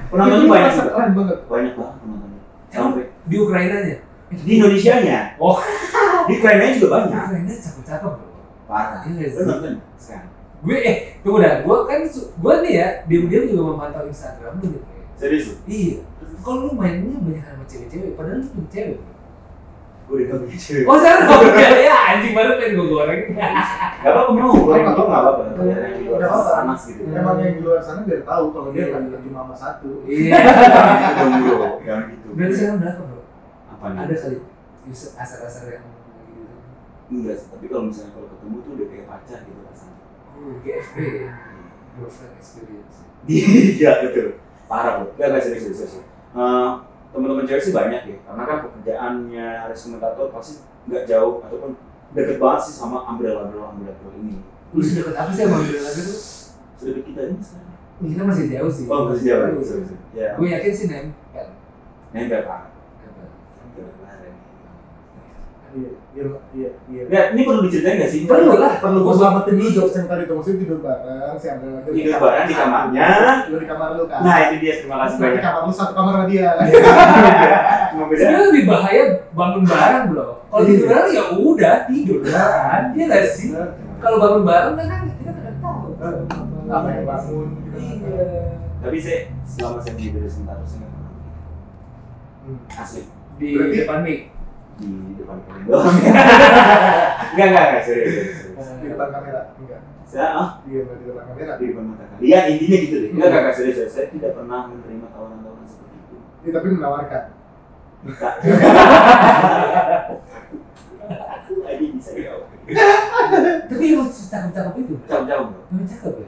B: penontonnya
C: itu
B: banyak
C: merasa
B: juga.
C: keren banget.
B: banyak banget penontonnya sampai
A: Di Ukraina nya.
B: di Indonesia nya
A: Oh.
B: di Ukraina juga banyak
A: Ukraina cakep-cakep bro.
B: parah
A: Iya nggak
B: Lu
A: sih?
B: nonton sekarang
A: Gue eh tunggu dah. Gue kan su- gue nih ya diam-diam juga memantau Instagram lu gitu. ya.
B: serius lu?
A: Iya. Kalau lu mainnya banyak sama cewek-cewek, padahal lu tuh cewek. bro.
B: gue udah punya cewek
A: Oh sekarang kamu udah ya anjing baru pengen gue goreng.
B: gak apa-apa mau gue yang itu gak apa-apa
C: Iya.
B: yang di luar
C: Gak apa-apa.
B: panas gitu
A: Iya.
C: Emang yang di luar sana biar tahu kalau dia
A: Iya.
C: kan cuma sama satu.
A: Iya.
B: Jangan gitu dong, bro jangan gitu
A: Berarti sekarang berapa bro?
B: apa nih
A: Ada kali user asal-asal yang gitu.
B: enggak sih tapi kalau misalnya kalau ketemu tuh udah kayak pacar gitu rasanya
A: Oh, GFP, girlfriend experience.
B: iya betul parah bro gak gak serius serius serius Eh, teman-teman cewek sih banyak ya karena kan pekerjaannya harus komentator pasti nggak jauh ataupun deket banget sih sama umbrella umbrella umbrella umbrella ini
A: Lu sudah deket apa sih sama Bella lagi tuh?
B: sudah kita ini sekarang
A: Kita masih jauh sih.
B: Oh, masih jauh.
A: Iya,
B: Sorry, sorry. Ya.
A: Gue yakin sih nempel.
B: Nempel, Pak.
A: Nempel.
B: Nempel kemarin.
C: iya iya iya iya
B: Ya, ini perlu diceritain nggak sih?
C: perlu lah perlu gue
A: Gua-
C: selamatin dulu jokes yang tadi tuh maksudnya tidur bareng si Abdel lagi
B: Tidur bareng di kamarnya.
C: lu di kamar lu kan
B: Nah, itu dia. Terima kasih
C: di
B: banyak. Iya,
C: kamar lu satu kamar sama dia Iya.
B: Cuma beda.
A: Sebenarnya lebih bahaya bangun bareng bro. Kalau
C: Iya.
A: tidur bareng ya udah tidur kan, ya nggak sih. Kalau bangun bareng kan kita nggak tahu.
C: apa yang bangun gitu
A: Iya.
B: Tapi saya selama saya di beda sebentar saya nggak pernah.
C: Hmm.
B: Asli
A: Di
C: Berarti-
A: depan mic.
B: di depan koridor. Enggak enggak enggak serius. serius, serius.
C: di depan kamera enggak
B: Saya ah
C: iya nggak di depan kamera
B: di depan mata kalian. Ya intinya gitu deh. Enggak enggak enggak, serius. serius. Saya tidak pernah menerima tawaran-tawaran seperti itu.
C: Iya, tapi menawarkan
B: Minta. Aku lagi bisa jauh.
A: Tapi emang cakep-cakep itu.
B: Jauh-jauh. Bro.
A: Emang cakep ya.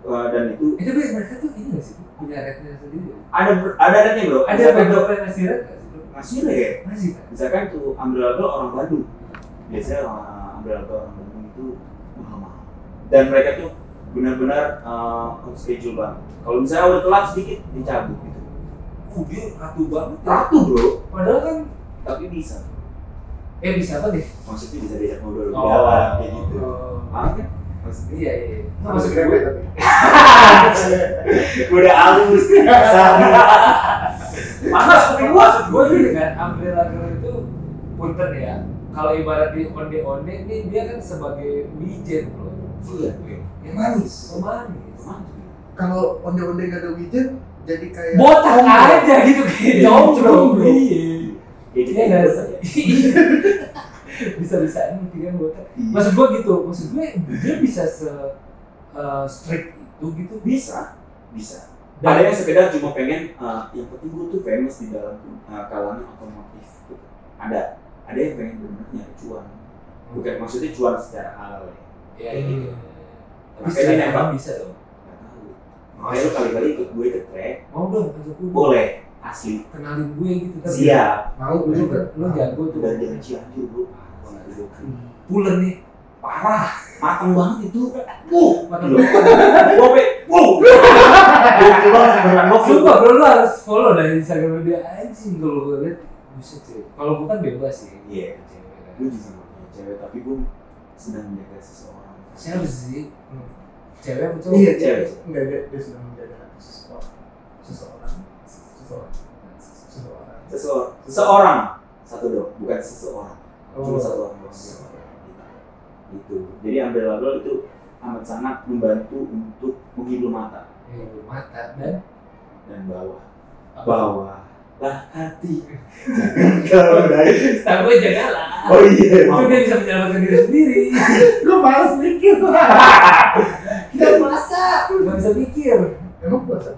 B: Eh, Dan itu
A: Eh, tapi mereka tuh ini nggak sih punya rednya sendiri.
B: ada ada adanya bro.
A: Ada
B: Misalkan tuh-
A: beberapa yang ngasih red nggak sih? bro?
B: masih ada ya.
A: Masih kan?
B: Misalkan tuh umbrella tuh orang Bandung. Biasanya orang umbrella tuh orang Bandung itu mahal-mahal. Dan mereka tuh benar-benar eh, on schedule banget. Kalau misalnya udah telat sedikit dicabut gitu.
A: Uh, dia ratu banget. ya.
B: Ratu bro,
A: Padahal kan
B: tapi bisa.
A: eh bisa apa deh?
B: Maksudnya bisa diajak ngobrol lebih
C: Oh.
B: dalam kayak gitu.
A: Oh,
B: Paham kan? Maksudnya
A: iya iya. Nggak
C: masuk
A: masuk
C: grepe
A: gue.
C: tapi
B: udah halus.
A: Iya,
B: Sama.
A: Panas tapi gua maksud gua gini kan, umbrella girl itu punten ya. Kalau ibarat di onde onde ini dia kan sebagai wijen bro.
B: Iya.
A: Yang manis, pemanis.
C: kalau onde-onde nggak ada wijen jadi kayak
A: Botak
C: Om, bro.
A: aja gitu kayak jomblo.
C: Jomblo.
A: Iya.
B: Ya kita
A: Iya nggak
B: ikut aja.
A: sih? bisa bisa ini tiga botak. Maksud gua gitu, maksud gue dia bisa se eh, strict itu gitu.
B: bisa bisa ada yang sekedar cuma pengen eh, yang penting gue tuh famous di dalam eh, kalangan otomotif gitu. ada ada yang pengen benar nyari cuan bukan maksudnya cuan secara halal ya
A: Ya gitu.
B: tapi
A: Bisa
B: saya nembak
A: bisa dong.
B: nggak tahu makanya lu kali-kali ikut gue ke track
A: Mau dong ajak gue.
B: boleh asli
A: Kenalin gue gitu kan.
B: siap
C: mau
A: Lu
C: gue
A: juga,
C: juga Ah.
A: lu jago tuh.
B: udah jangan cianjur bro Parah, gua.
A: Pulen nih.
B: parah matang banget itu uh
A: Matang
B: Gila. Bobe, uh Gokil banget, beneran gokil.
A: Sumpah bro lu harus follow dari Instagram dia anjing kalau gue liat buset sih. Kalau gue kan bebas sih.
B: Iya. gue juga mau punya cewek tapi gue sedang menjaga seseorang
A: Siapa sih? Cewek apa cowok?
C: iya
B: Cewek.
C: cewek nggak dia dia sudah menjaga hati seseorang seseorang seseorang seseorang
B: seseorang seseorang satu dong bukan seseorang cuma
C: Oh.
B: satu orang doang gitu jadi umbrella girl itu amat sangat membantu untuk menghibur mata
A: Eh, mata dan
B: dan bawah
A: apa?
B: bawah lah hati jangan kau naik
A: Setahu gue jagalah.
B: oh
A: Itu
B: iya maaf.
A: dia bisa menyelamatkan diri sendiri.
C: gue males mikir
A: Gak puasa. Gak bisa mikir.
C: emang puasa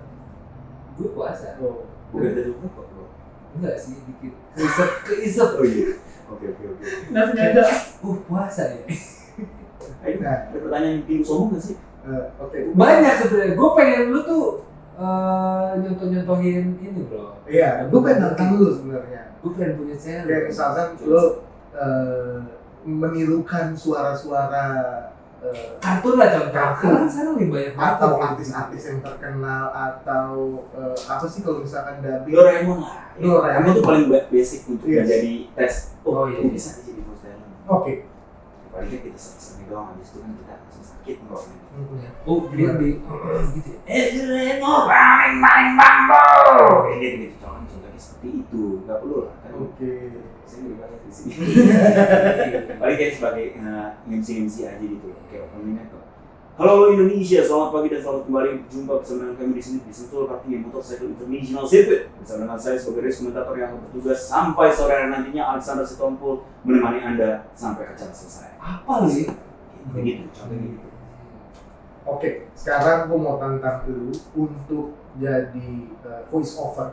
A: Gue puasa.
C: oh
B: bukan tadi bukan kok bro
A: Enggak sih, dikit. Keisep, keisep.
B: oh iya oke oke oke
C: nggak sengaja
A: Uh, puasa ya.
B: Ayo, ada pertanyaan yang bikin lu sombong nggak sih
C: gitu. Nah, Eh, oke
A: Banyak sebenarnya. Gue pengen lu tuh eh, nyontoh-nyontohin ini bro.
C: iya gue pengen nantang lu sebenarnya
A: Gue pengen punya cewek.
C: kayak misalkan lo eh, menirukan suara-suara eh,
A: Kartun lah contoh.
C: Kartun.
A: Karena sekarang lebih banyak banget.
C: atau artis-artis yang terkenal atau eh, apa sih kalau misalkan dubbing
B: Doraemon lah
C: Doraemon.
B: Kamu tuh paling ba- basic untuk
C: Iya.
B: menjadi tes
A: Oh, iya. Oh.
B: lu bisa nih jadi bos dalam
C: oke
B: paling kan kita sakit doang habis itu kan kita langsung sakit bro
A: Oh, dia di gitu ya.
B: Eh, Remo, paling paling bambu. Kayak gitu gitu, jangan contohnya seperti itu, nggak perlu lah. Kan
A: Oh.
C: oke
B: saya lebih banyak di sini. Paling kayak sebagai MC MC aja gitu, kayak openingnya kok. Halo Indonesia, selamat pagi dan selamat kembali berjumpa bersama dengan kami di sini di Sentul Kartini Motorcycle International Circuit bersama dengan saya sebagai race komentator yang akan bertugas sampai sore hari nantinya Alexander Setompul menemani anda sampai acara selesai.
A: Apa lu ya?
B: Kayak gitu, contohnya gitu.
C: Oke, sekarang gue mau tantang lu untuk jadi eh, voice over.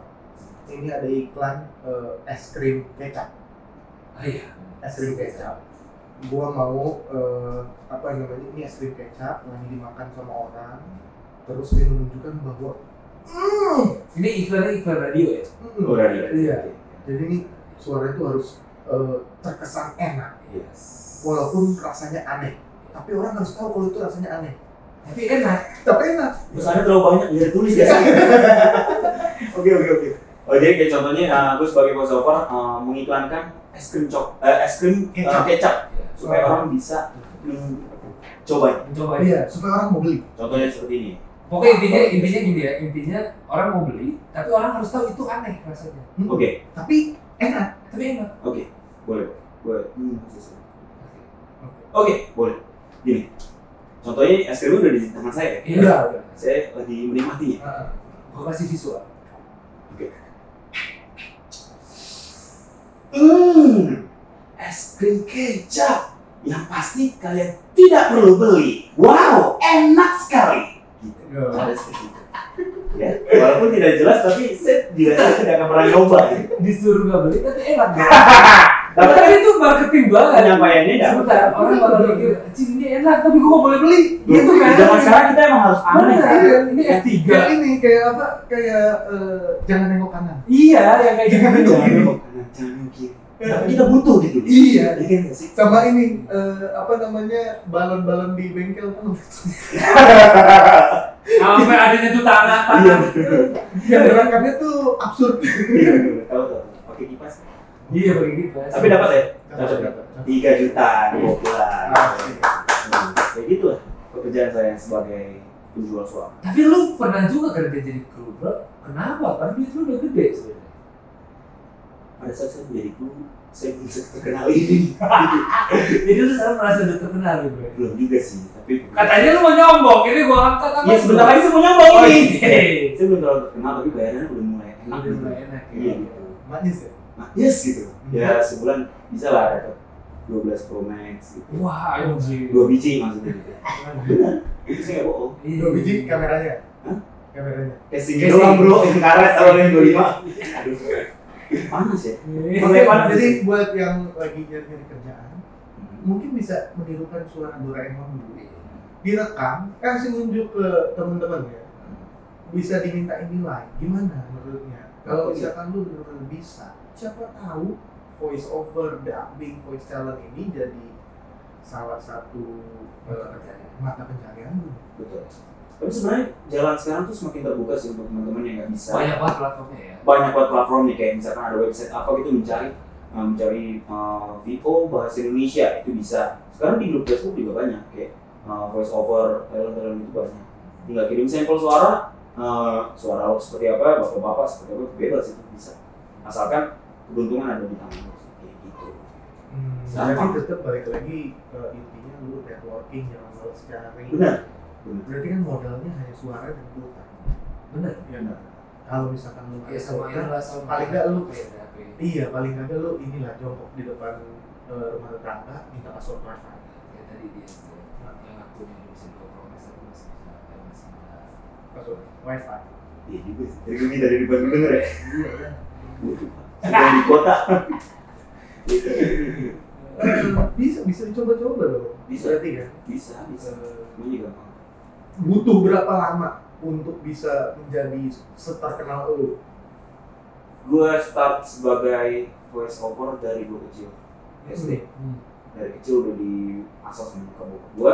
C: Ini ada iklan eh, es krim kecap,
A: Ah iya.
C: es krim kecap. Gue mau eh, apa namanya? Ini es krim kecap lagi dimakan sama orang. Terus dia menunjukkan bahwa "Mm,
A: Ini iklannya iklan radio ya?
C: mm."
B: Oh, radio.
C: Iya. Jadi ini suara itu harus eh, terkesan enak,
B: Yes.
C: walaupun rasanya aneh. Tapi orang harus tahu kalau itu rasanya aneh.
A: Tapi enak.
C: Tapi enak.
B: Terus ada terlalu banyak yang ditulis ya. Oke oke oke. Oh jadi kayak contohnya eh, gue sebagai voiceover eh, mengiklankan es krim cok eh, es krim eh,
C: Kecap.
B: kecap,
A: Iya.
B: supaya
C: Oh.
B: orang bisa mencoba.
A: Coba ya.
C: Iya, supaya orang mau beli.
B: Contohnya seperti ini.
A: Pokoknya intinya intinya gini ya, intinya orang mau beli, tapi orang harus tahu itu aneh rasanya.
C: Hmm.
B: Oke,
C: Tapi enak.
A: Tapi enak.
B: boleh, boleh. Hmm, selesai. Oke, boleh. Gini, contohnya es krim udah di tangan saya. ya.
A: Iya.
B: Saya lagi menikmatinya.
C: Heeh.
A: Gue kasih visual.
B: Hmm, es krim kecap yang pasti kalian tidak perlu beli. Wow, enak sekali. Gitu. Ada seperti itu. Ya, walaupun tidak jelas tapi saya juga saya tidak akan pernah nyoba.
A: Disuruh nggak beli, tapi enak.
B: Tapi
A: tapi kan itu marketing banget.
B: penyampaiannya dapat.
A: Sebentar, orang bakal mikir, "Cing, ini enak, tapi gue nggak boleh beli." Gitu
B: Di
A: kan?
B: Iya. zaman sekarang kita emang harus aneh
A: Bener,
B: kan?
A: iya. ini S3.
C: Kayak ini kayak apa? Kayak eh, jangan nengok kanan.
A: Iya, yang kayak gitu.
B: Jangan nengok kanan, jangan nengok kiri. Tapi kita butuh gitu.
C: Iya.
B: Iya kan nggak sih?
C: Sama ini eh, apa namanya? Balon-balon di bengkel kan.
A: Sampai adanya tuh tanah,
B: Iya.
A: tanah.
C: Yang gerakannya tuh absurd.
B: Iya. Tahu tahu. Pakai kipas.
A: Iya, pakai gitu.
B: Tapi dapat ya?
C: Cocok, cocok.
B: Tiga juta, dua bulan.
C: Asik.
B: Hmm, Kayak gitu lah pekerjaan saya sebagai penjual suara.
A: Tapi lu pernah juga kerja jadi kru, bro? Kenapa? Karena duit lu udah gede sebenarnya.
B: Pada saat saya menjadi guru, saya belum bisa terkenal ini.
A: Jadi lu sekarang merasa udah terkenal ya, bro?
B: Belum juga sih, tapi
A: Katanya lu mau nyombong, ini gua angkat angkat.
B: Iya sebentar lagi saya mau nyoba
A: Oh,
B: ini.
A: iya.
B: Saya belum terlalu terkenal, tapi bayarannya udah mulai enak.
A: Udah
B: gitu.
A: mulai enak
B: Iya
A: ya.
B: gitu.
C: Manis ya.
B: Nah, yes gitu. Ya sebulan bisa lah dapat 12 Pro Max gitu.
A: Wah, anjir.
B: Dua biji maksudnya gitu. Benar. Itu saya nggak bohong.
A: Iya.
C: Dua biji kameranya.
B: Hah?
C: Kameranya.
B: Casing
A: Casing.
B: doang bro, yang karet kalau yang 25. Aduh. Panas ya?
A: Iya.
B: Pakai panas
C: Jadi
B: sih.
C: buat yang lagi nyari-nyari kerjaan,
B: Hmm,
C: mungkin bisa menirukan suara Doraemon dulu direkam kasih unjuk ke teman-temannya bisa dimintain nilai gimana menurutnya kalau misalkan lu benar-benar bisa siapa tahu voice over dubbing voice talent ini jadi salah satu eh, mata pencarian lu
B: Betul. Tapi sebenarnya jalan sekarang tuh semakin terbuka sih untuk teman-teman yang nggak bisa.
A: Banyak banget platformnya ya.
B: banyak banget platformnya kayak misalkan ada website apa gitu mencari uh, mencari uh, VO bahasa Indonesia itu bisa sekarang di grup Facebook juga banyak kayak uh, voice over talent talent itu banyak tinggal kirim sampel suara uh, suara lo seperti apa bapak bapak seperti apa bebas itu bisa asalkan keberuntungan ada di tangan lo kayak gitu
C: tapi tetap Nah, balik lagi ke intinya lu networking jangan males cari
B: benar
C: berarti kan modalnya hanya suara dan pulpen
A: Iya, Bener.
C: ya kalau misalkan lu
A: Iya, sama
C: ada
A: ini lah sama.
C: Paling nggak lu-
A: beda. beda.
C: Iya, paling kagak lu inilah jongkok di depan eh, rumah tetangga minta password wifi.
A: Ya tadi dia tuh, yang aku yang ngurusin dua promes aku masih bisa, eh, masih bisa.
C: Password wifi.
B: iya juga sih dari gue dari depan gue denger ya
A: Iya, iya.
B: sudah di kota
C: bisa bisa dicoba-coba loh.
B: Bisa.
C: Berarti kan
B: bisa bisa
C: eh,
B: semuanya gampang
C: butuh berapa lama untuk bisa menjadi seterkenal lu?
B: gue start sebagai voice over dari gue kecil SD
A: Hmm.
B: dari kecil udah di asas sama nyokap bokap gue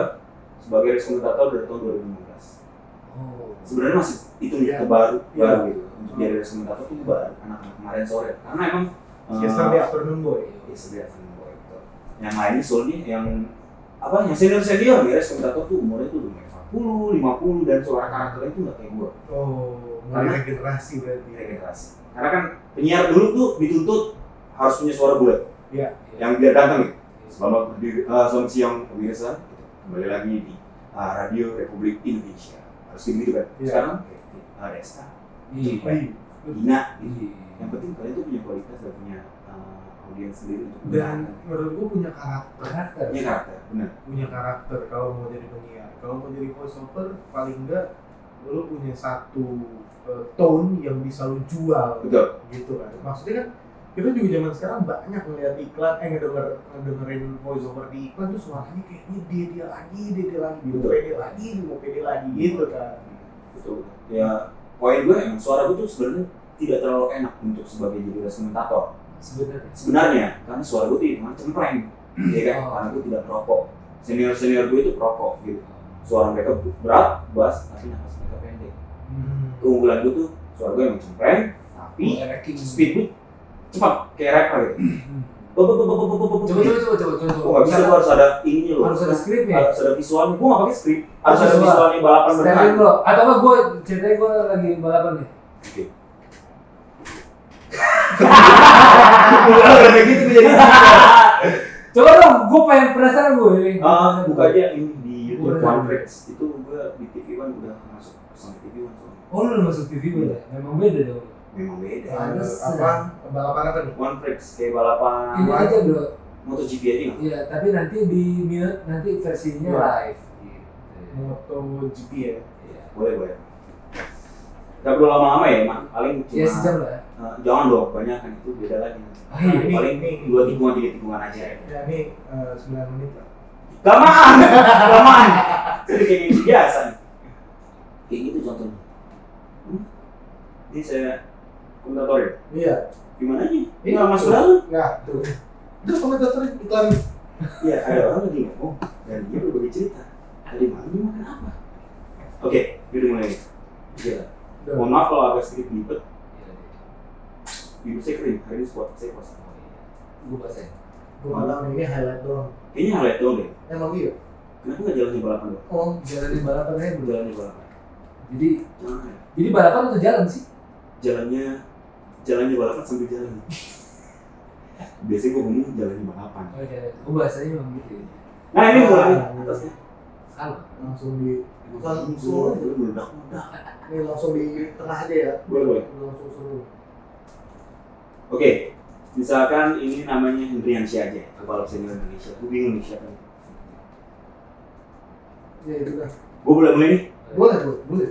B: sebagai race komentator dari tahun 2015
A: Oh.
B: sebenarnya masih itu
C: Iya.
B: baru
C: Iya.
B: baru gitu untuk jadi race komentator tuh baru anak-anak kemarin sore karena emang eh,
C: Yesterday afternoon boy.
B: ya sebenarnya akan bawa itu. yang lainnya soalnya yang apa yang senior senior ya race komentator tuh umurnya tuh udah 40, 50 dan suara karakternya tuh nggak kayak gue
C: Oh,
B: Karena-
C: mulai regenerasi berarti. ya.
B: regenerasi karena kan penyiar dulu tuh dituntut harus punya suara bulat
A: Iya.
B: yang biar datang ya. Selamat berdiri, eh, selamat siang pemirsa. Kembali lagi di eh, Radio Republik Indonesia. Harus gini gitu kan?
C: Iya.
B: Sekarang eh, Resta,
A: Iya.
C: Wih,
B: Dina. gitu. Yang
A: Iya.
B: penting kalian tuh punya kualitas dan punya eh, audiens sendiri untuk
C: Dan menurut gua punya karakter.
A: Karakter.
B: punya karakter. Benar.
C: punya karakter kalau mau jadi penyiar kalau mau jadi voiceover paling enggak lu punya satu eh, tone yang bisa lu jual
B: Betul.
C: gitu kan maksudnya kan kita juga zaman sekarang banyak ngeliat iklan eh ngedenger ngedengerin voiceover di iklan tuh suaranya kayaknya dia dia lagi dia dia lagi dia mau
B: Betul.
C: pede lagi dia mau pede lagi gitu kan
B: Betul. Ya poin gue yang suara gue tuh sebenarnya tidak terlalu enak untuk sebagai jadi voice komentator.
A: Sebenarnya.
B: Sebenarnya karena suara gue tuh hitungan cempreng,
C: Hmm.
B: ya kan?
A: Oh.
B: Karena gue tidak perokok. Senior senior gue itu perokok gitu. Suara mereka berat, bass, tapi nafas mereka pendek.
C: Hmm.
B: keunggulan gue tuh suara gue emang cempreng tapi
A: Ranking
B: speed gue cepat kayak rapper gitu
A: Hmm.
B: Bop, bop, bop, bop, bop, bop, bop.
A: coba coba coba coba coba
B: Gua Oh, nggak bisa, gua harus ada ininya loh.
A: harus ada skripnya
B: Harus ada visualnya. Gua nggak pakai skrip. Harus
A: Harus
B: ada
A: ada.
B: visualnya balapan beneran.
A: Standing lo atau apa gue ceritanya gue lagi balapan nih
B: Udah udah kayak gitu jadi.
A: coba dong gue pengen penasaran Iya, gue
B: Ah, buka aja ini di YouTube
A: Boleh.
B: One Tracks. Itu gua di TV One udah masuk sama TV One soalnya.
A: oh lu udah masuk TV gue ya memang beda dong
B: Memang beda.
C: Ada
A: Pantesan.
C: apa balapan apa nih
B: One Tracks kayak
A: ini
B: balapan
A: aja bro
B: MotoGP aja nggak?
A: iya tapi nanti di mute nanti versinya
C: Iya.
A: live gitu
C: MotoGP ya
A: Iya.
B: Boleh boleh. Gak perlu lama-lama ya, Mak. Paling cuma
A: ya sejam lah ya.
B: Eh, jangan dong, banyak kan itu beda lagi.
A: oh, iya.
C: Ini-
B: Nah, Paling
C: ini-
B: dua tikungan tiga tikungan aja.
C: ya ini eh, 9 menit lah
B: Lamaan, lamaan. Jadi kayak gini biasa. nih. Kayak gitu contohnya. Hmm? Ini saya komentator ya.
C: iya
B: Gimana aja? Ini
C: Iya.
B: nggak masuk dalam.
C: nah tuh itu komentator iklan
B: Iya, ada orang lagi ngomong dan dia berbagi cerita. Tadi malam dia makan apa? Oke, ini udah mulai. Iya.
C: Udah.
B: Mohon maaf kalau agak sedikit ribet.
A: iya.
B: Bibir saya kering, hari ini sport saya puasa.
A: gue bahasain
C: gua nggak tahu nih, ini highlight doang
B: Kayaknya highlight doang deh.
C: emang iya
B: Kenapa nggak jalan di balapan doang?
C: oh
A: jalanin balapan aja bro
B: Jalan di balapan.
A: jadi
B: Jangan ya.
A: jadi balapan atau jalan sih
B: jalannya jalannya balapan sambil jalan biasanya gue ngomong jalannya balapan
A: oh jalan gue bahasanya memang gitu ya
B: nah ini
C: Oh,
B: mulai
C: iya.
B: atasnya
A: salah
C: langsung di Langsung.
B: meledak meledak
C: ini langsung di tengah aja ya
B: boleh boleh
C: langsung seru
B: oke misalkan ini namanya Hendriansyah aja balap senior Indonesia gue bingung nih siapa
C: ya itu dah
B: gue boleh mulai nih
C: boleh boleh boleh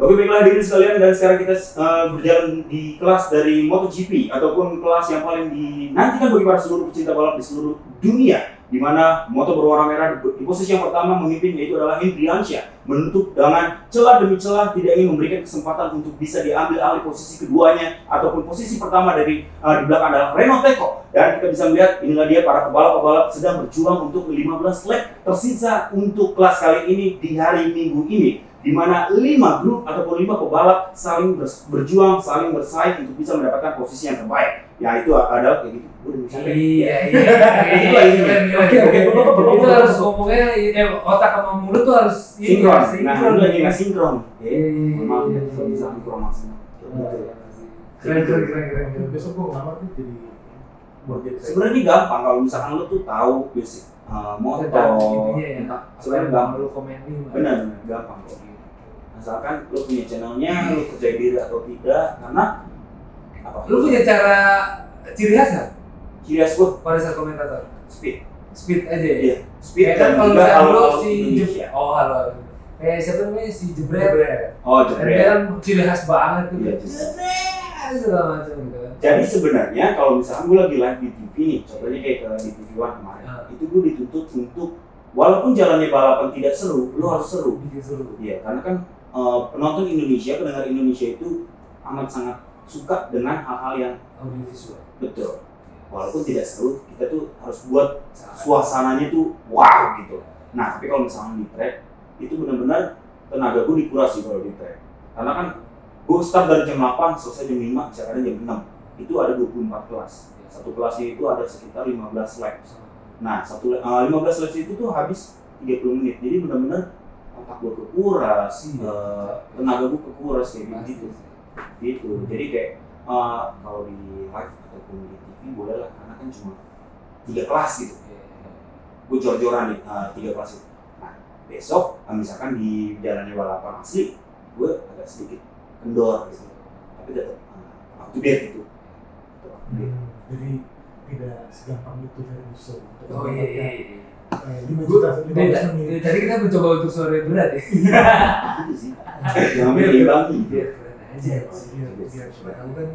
B: Oke baiklah hadirin sekalian dan sekarang kita eh, berjalan di kelas dari MotoGP ataupun kelas yang paling dinantikan bagi para seluruh pecinta balap di seluruh dunia di mana moto berwarna merah di posisi yang pertama memimpin yaitu adalah Hendriansyah menutup dengan celah demi celah tidak ingin memberikan kesempatan untuk bisa diambil alih posisi keduanya ataupun posisi pertama dari eh, di belakang adalah Reno Teko dan kita bisa melihat inilah dia para pebalap-pebalap sedang berjuang untuk 15 lap tersisa untuk kelas kali ini di hari Minggu ini di mana lima grup ataupun lima pebalap saling bers- berjuang, saling bersaing untuk bisa mendapatkan posisi yang terbaik. Ya itu adalah kayak gitu. Gue udah sampai.
A: iya iya
B: Iya, iya.
A: oke oke itu
B: Itu
A: harus
B: harus
A: ngomongnya eh, otak sama mulut tuh harus
B: Sinkron. Nah, ini lagi nggak sinkron. Ya, maaf
A: Iya.
B: ya, kalau bisa sinkron maksudnya. Kayak gitu ya.
A: keren keren keren keren
C: Ya, besok gua ngelamar nih jadi buat jadi saya
B: Sebenarnya ini gampang kalau misalkan lo tuh tahu basic uh, motor,
A: Tentang ininya ya.
B: tentang-
A: Soalnya
B: sebenarnya
A: nggak
B: gampang.
A: perlu komenting lah.
B: Benar, benar, gampang kok. Asalkan lo punya channelnya, lo percaya diri atau tidak, karena apa?
A: lu punya cara ciri khas nggak
B: ciri khas gue
A: pada saat komentator
B: speed,
A: speed aja ya
B: iya, speed
A: Ya
B: dan
A: kan kalau
B: juga
A: misalnya lo
B: alur-alur
A: si
B: Indonesia.
A: Jeb- oh halo eh siapa namanya si Jebret
C: Jebret.
B: Oh,
A: Dan
B: jebret.
A: dia kan ciri khas banget tuh
B: Iya,
A: Jebret segala macam gitu kan
B: Jadi sebenarnya kalau misalkan gue lagi live di TV nih, contohnya kayak ke di TV One kemarin,
A: Ah.
B: itu gue dituntut untuk walaupun jalannya balapan tidak seru, lo harus seru.
A: bikin seru
B: Iya, karena kan eh, penonton Indonesia, pendengar Indonesia itu amat sangat suka dengan hal-hal yang
A: audiovisual
B: betul. Walaupun tidak seru, kita tuh harus buat suasananya tuh wow gitu. Nah, tapi kalau misalkan di track itu benar-benar tenaga gue dikurasi kalau di track. Karena kan gue start dari jam 8 selesai jam 5, misalkan jam 6. Itu ada 24 kelas.
A: Iya,
B: Satu kelasnya itu ada sekitar 15 laps. Nah, satu la- eh, 15 laps itu tuh habis 30 menit. Jadi benar-benar otak gue kekuras,
A: Iya.
B: eh, tenaga gue kekuras kayak
A: Pasti
B: gitu
A: sih.
B: gitu jadi kayak eh, kalau di live ataupun di TV boleh lah karena kan cuma tiga kelas gitu gue jor-joran nih eh, tiga kelas itu nah besok eh, misalkan di jalannya balapan asli gue agak sedikit kendor gitu tapi tetap eh, up to date gitu Tetap up to date.
C: Hmm, jadi tidak segampang itu Ferguson untuk
A: oh iya iya iya
C: mendapatkan, eh, lima
A: Gua-
C: juta lima
A: beda.
C: belas menit
A: Dari tadi kita mencoba untuk sore berat ya
B: gitu sih jangan bilang
A: biar keren aja
C: Iya, iya, iya. Siapa tahu kan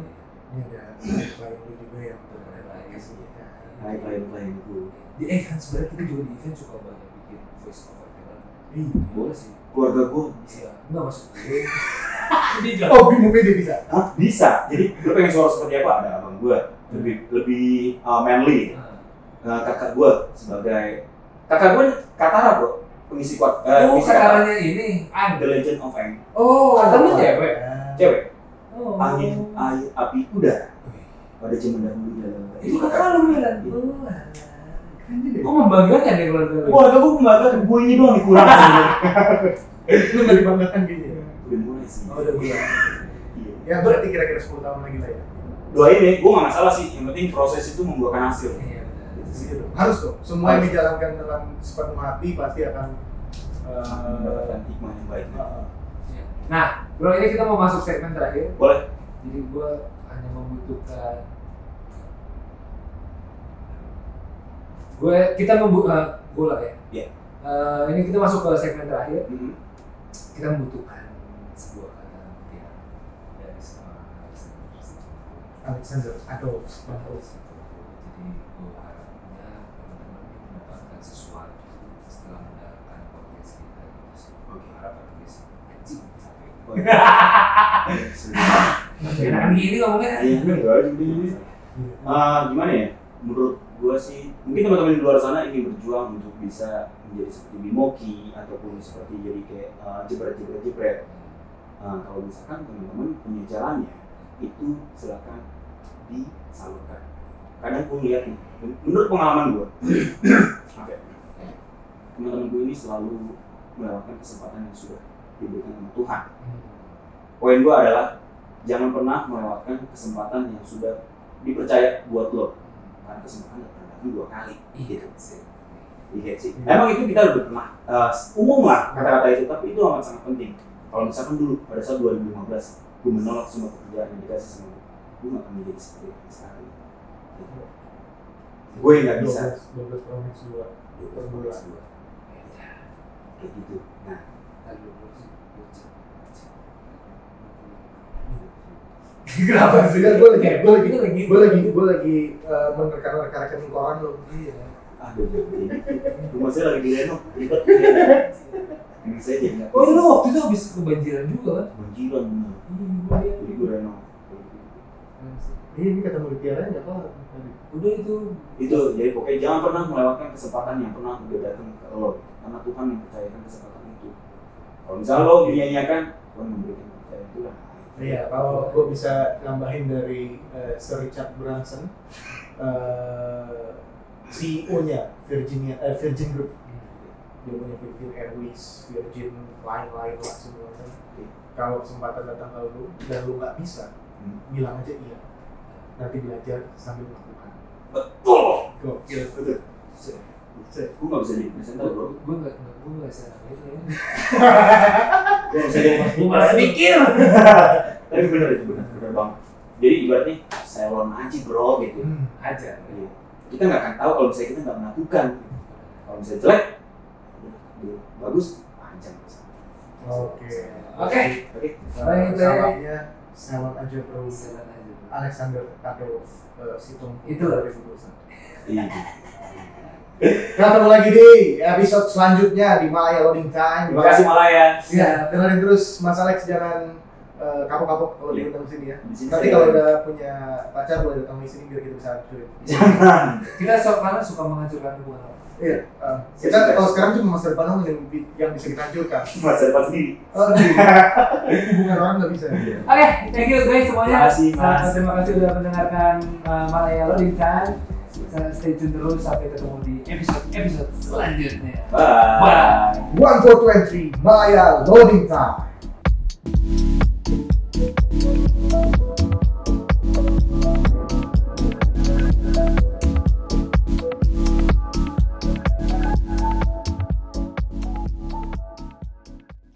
C: ini ada klien gue Iya, juga yang benar-benar baik sih ya.
B: Hai klien-klien gue
A: Di- eh kan sebenarnya kita juga di event suka banget bikin voice over talent
C: Ih,
A: boleh sih
B: keluarga gue
A: Iya, enggak maksud gue. Dia juga-
C: oh bingungnya dia bisa
B: Hah? bisa jadi gue pengen suara seperti apa ada abang gue lebih lebih eh, manly Nah, kakak gue sebagai kakak gue Katara bro pengisi kuat eh,
A: Oh,
B: pengisi Katara.
A: katanya ini
B: The
A: ada.
B: Legend of Aang
C: oh
A: Kata lu
C: ah,
A: cewek?
B: cewek
A: Oh.
B: angin air api udara pada zaman dahulu ya.
A: Itu kakak lu bilang.
B: Iya.
A: "Wah,
C: Kan jadi-
A: Kok membanggakan ya keluarga lu?
B: keluarga gue pembanggakan gue ini doang dikurang
C: Lu nggak dibanggakan gitu ya?
B: udah mulai sih
C: Oh, udah bulan.
B: Iya.
C: Ya berarti kira-kira 10 tahun lagi lah ya.
B: doain ya gue gak masalah sih yang penting proses itu membuahkan hasil
A: Iya.
B: Itu sih.
C: Gitu. Harus dong. Semua yang
B: Harus.
C: dijalankan dengan sepenuh hati pasti akan eh,
B: mendapatkan hikmah yang baik
C: eh,
A: Iya. Nah, bro ini kita mau masuk segmen terakhir.
B: Boleh.
A: Jadi gue hanya membutuhkan gue kita membu eh, gue lah ya.
B: Iya.
A: Eh, ini kita masuk ke segmen terakhir.
B: Mhm.
A: Kita membutuhkan sebuah kata kutipan dari seorang Alexander Stepanov.
C: Alexander Adolf
A: Stepanov.
C: Stepanov.
A: gitu. Jadi gue harapnya teman-teman ini mendapatkan sesuatu setelah mendengarkan podcast kita itu sih.
B: Oke.
A: Harapan gue sih anjing sampai
B: Oh, iya. Eh, Serius.
A: Enakan gini ngomongnya. "Eh,
B: Iya, enggak, jadi- Ah, gimana ya? Menurut gua sih, mungkin teman-teman di luar sana ingin berjuang untuk bisa menjadi seperti Bimoki ataupun seperti jadi kayak ah, jebret jebret jebret. Ah, kalau misalkan teman-teman punya jalannya, itu silakan disalurkan. Kadang gua ngeliat nih, men- menurut pengalaman gua, Oke. teman-teman gua ini selalu melewatkan kesempatan yang sudah diberikan sama Tuhan. Poin gua adalah jangan pernah melewatkan kesempatan yang sudah dipercaya buat lo karena kesempatan gak pernah datang dua kali gitu sih Iya sih. Emang itu kita udah pernah eh, umum lah kata-kata itu, tapi itu amat sangat penting. Kalau misalkan dulu pada saat 2015 gue menolak semua pekerjaan yang dikasih sama gue, gue gak akan menjadi seperti yang sekarang. ini. Gitu. Gue
A: Iya,
B: yang gak bisa.
C: 12 tahun yang kedua.
B: Dua belas bulan, dua. Ya, Kayak gitu. Nah, Nah,
A: Kenapa sih?
C: Enggak, gue lagi, gue lagi,
A: Ini lagi.
C: gue lagi, gue lagi eh, menerka-nerka rekening koran lo.
A: Iya.
B: aduh, rumah saya lagi di renov, ribet. Ini saya jadi nggak
A: Oh
B: bisa.
A: lu waktu itu habis kebanjiran juga kan?
B: Banjiran, bener.
A: Iya,
B: jadi gue renov.
C: Iya, ini kata mulut tiara nggak kelar.
A: Udah itu.
B: itu jadi pokoknya jangan pernah melewatkan kesempatan yang pernah udah datang ke lo karena Tuhan mempercayakan kesempatan itu kalau misalnya lo dinyanyikan Tuhan memberikan kepercayaan itu lah
C: Iya, kalau gue bisa nambahin dari eh, Sir Richard Branson, eh, CEO-nya Virginia, eh, Virgin Group, dia punya Virgin Airways, Virgin lain-lain lah semuanya. Kalau kesempatan datang ke lu dan lu nggak bisa,
B: Hmm.
C: bilang aja iya. Nanti belajar sambil melakukan.
B: betul
C: Gokil.
B: betul gue nggak bisa jadi presenter bro
A: Gue nggak gue nggak sadar itu ya.
B: gue nggak bisa jadi
A: Gue malah mikir.
B: tapi bener itu bener bener banget jadi ibaratnya salon aja bro gitu
C: Hmm.
A: Aja.
B: Iya. kita nggak akan tahu kalau misalnya kita nggak melakukan kalau misalnya jelek udah, bagus panjang
C: Oke.
A: Oke.
B: oke
A: Baik, baik.
C: Salamnya, salam aja bro.
A: Jalan aja.
C: Alexander Adolf eh, Situmbu
A: Itu.
C: 2021.
B: iya
C: Kita ketemu lagi di episode selanjutnya di Malaya Loading Time.
B: terima kasih Malaya
C: Ya, dengerin terus Mas Alex jangan eh, kapok-kapok kalau
B: Iya.
C: diundang sini ya.
B: Di sini
C: Nanti
B: saya-
C: kalau udah punya pacar boleh datang di sini biar kita bisa join.
B: jangan
A: Kita sok karena suka menghancurkan hubungan orang.
C: Iya. eh, kita kalau sekarang cuma masa depan doang yang, bi- yang bisa kita hancurkan.
B: masa depan sendiri.
C: Oh, hubungan orang nggak bisa.
A: Oke, thank you guys semuanya.
B: Iya. Terima kasih, Mas.
A: Uh, terima kasih sudah mendengarkan uh, Malaya Lodintan. Uh, Stay tune terus sampai ketemu di episode episode selanjutnya.
B: Bye.
A: Bye.
C: One for twenty Malaya Loading Time.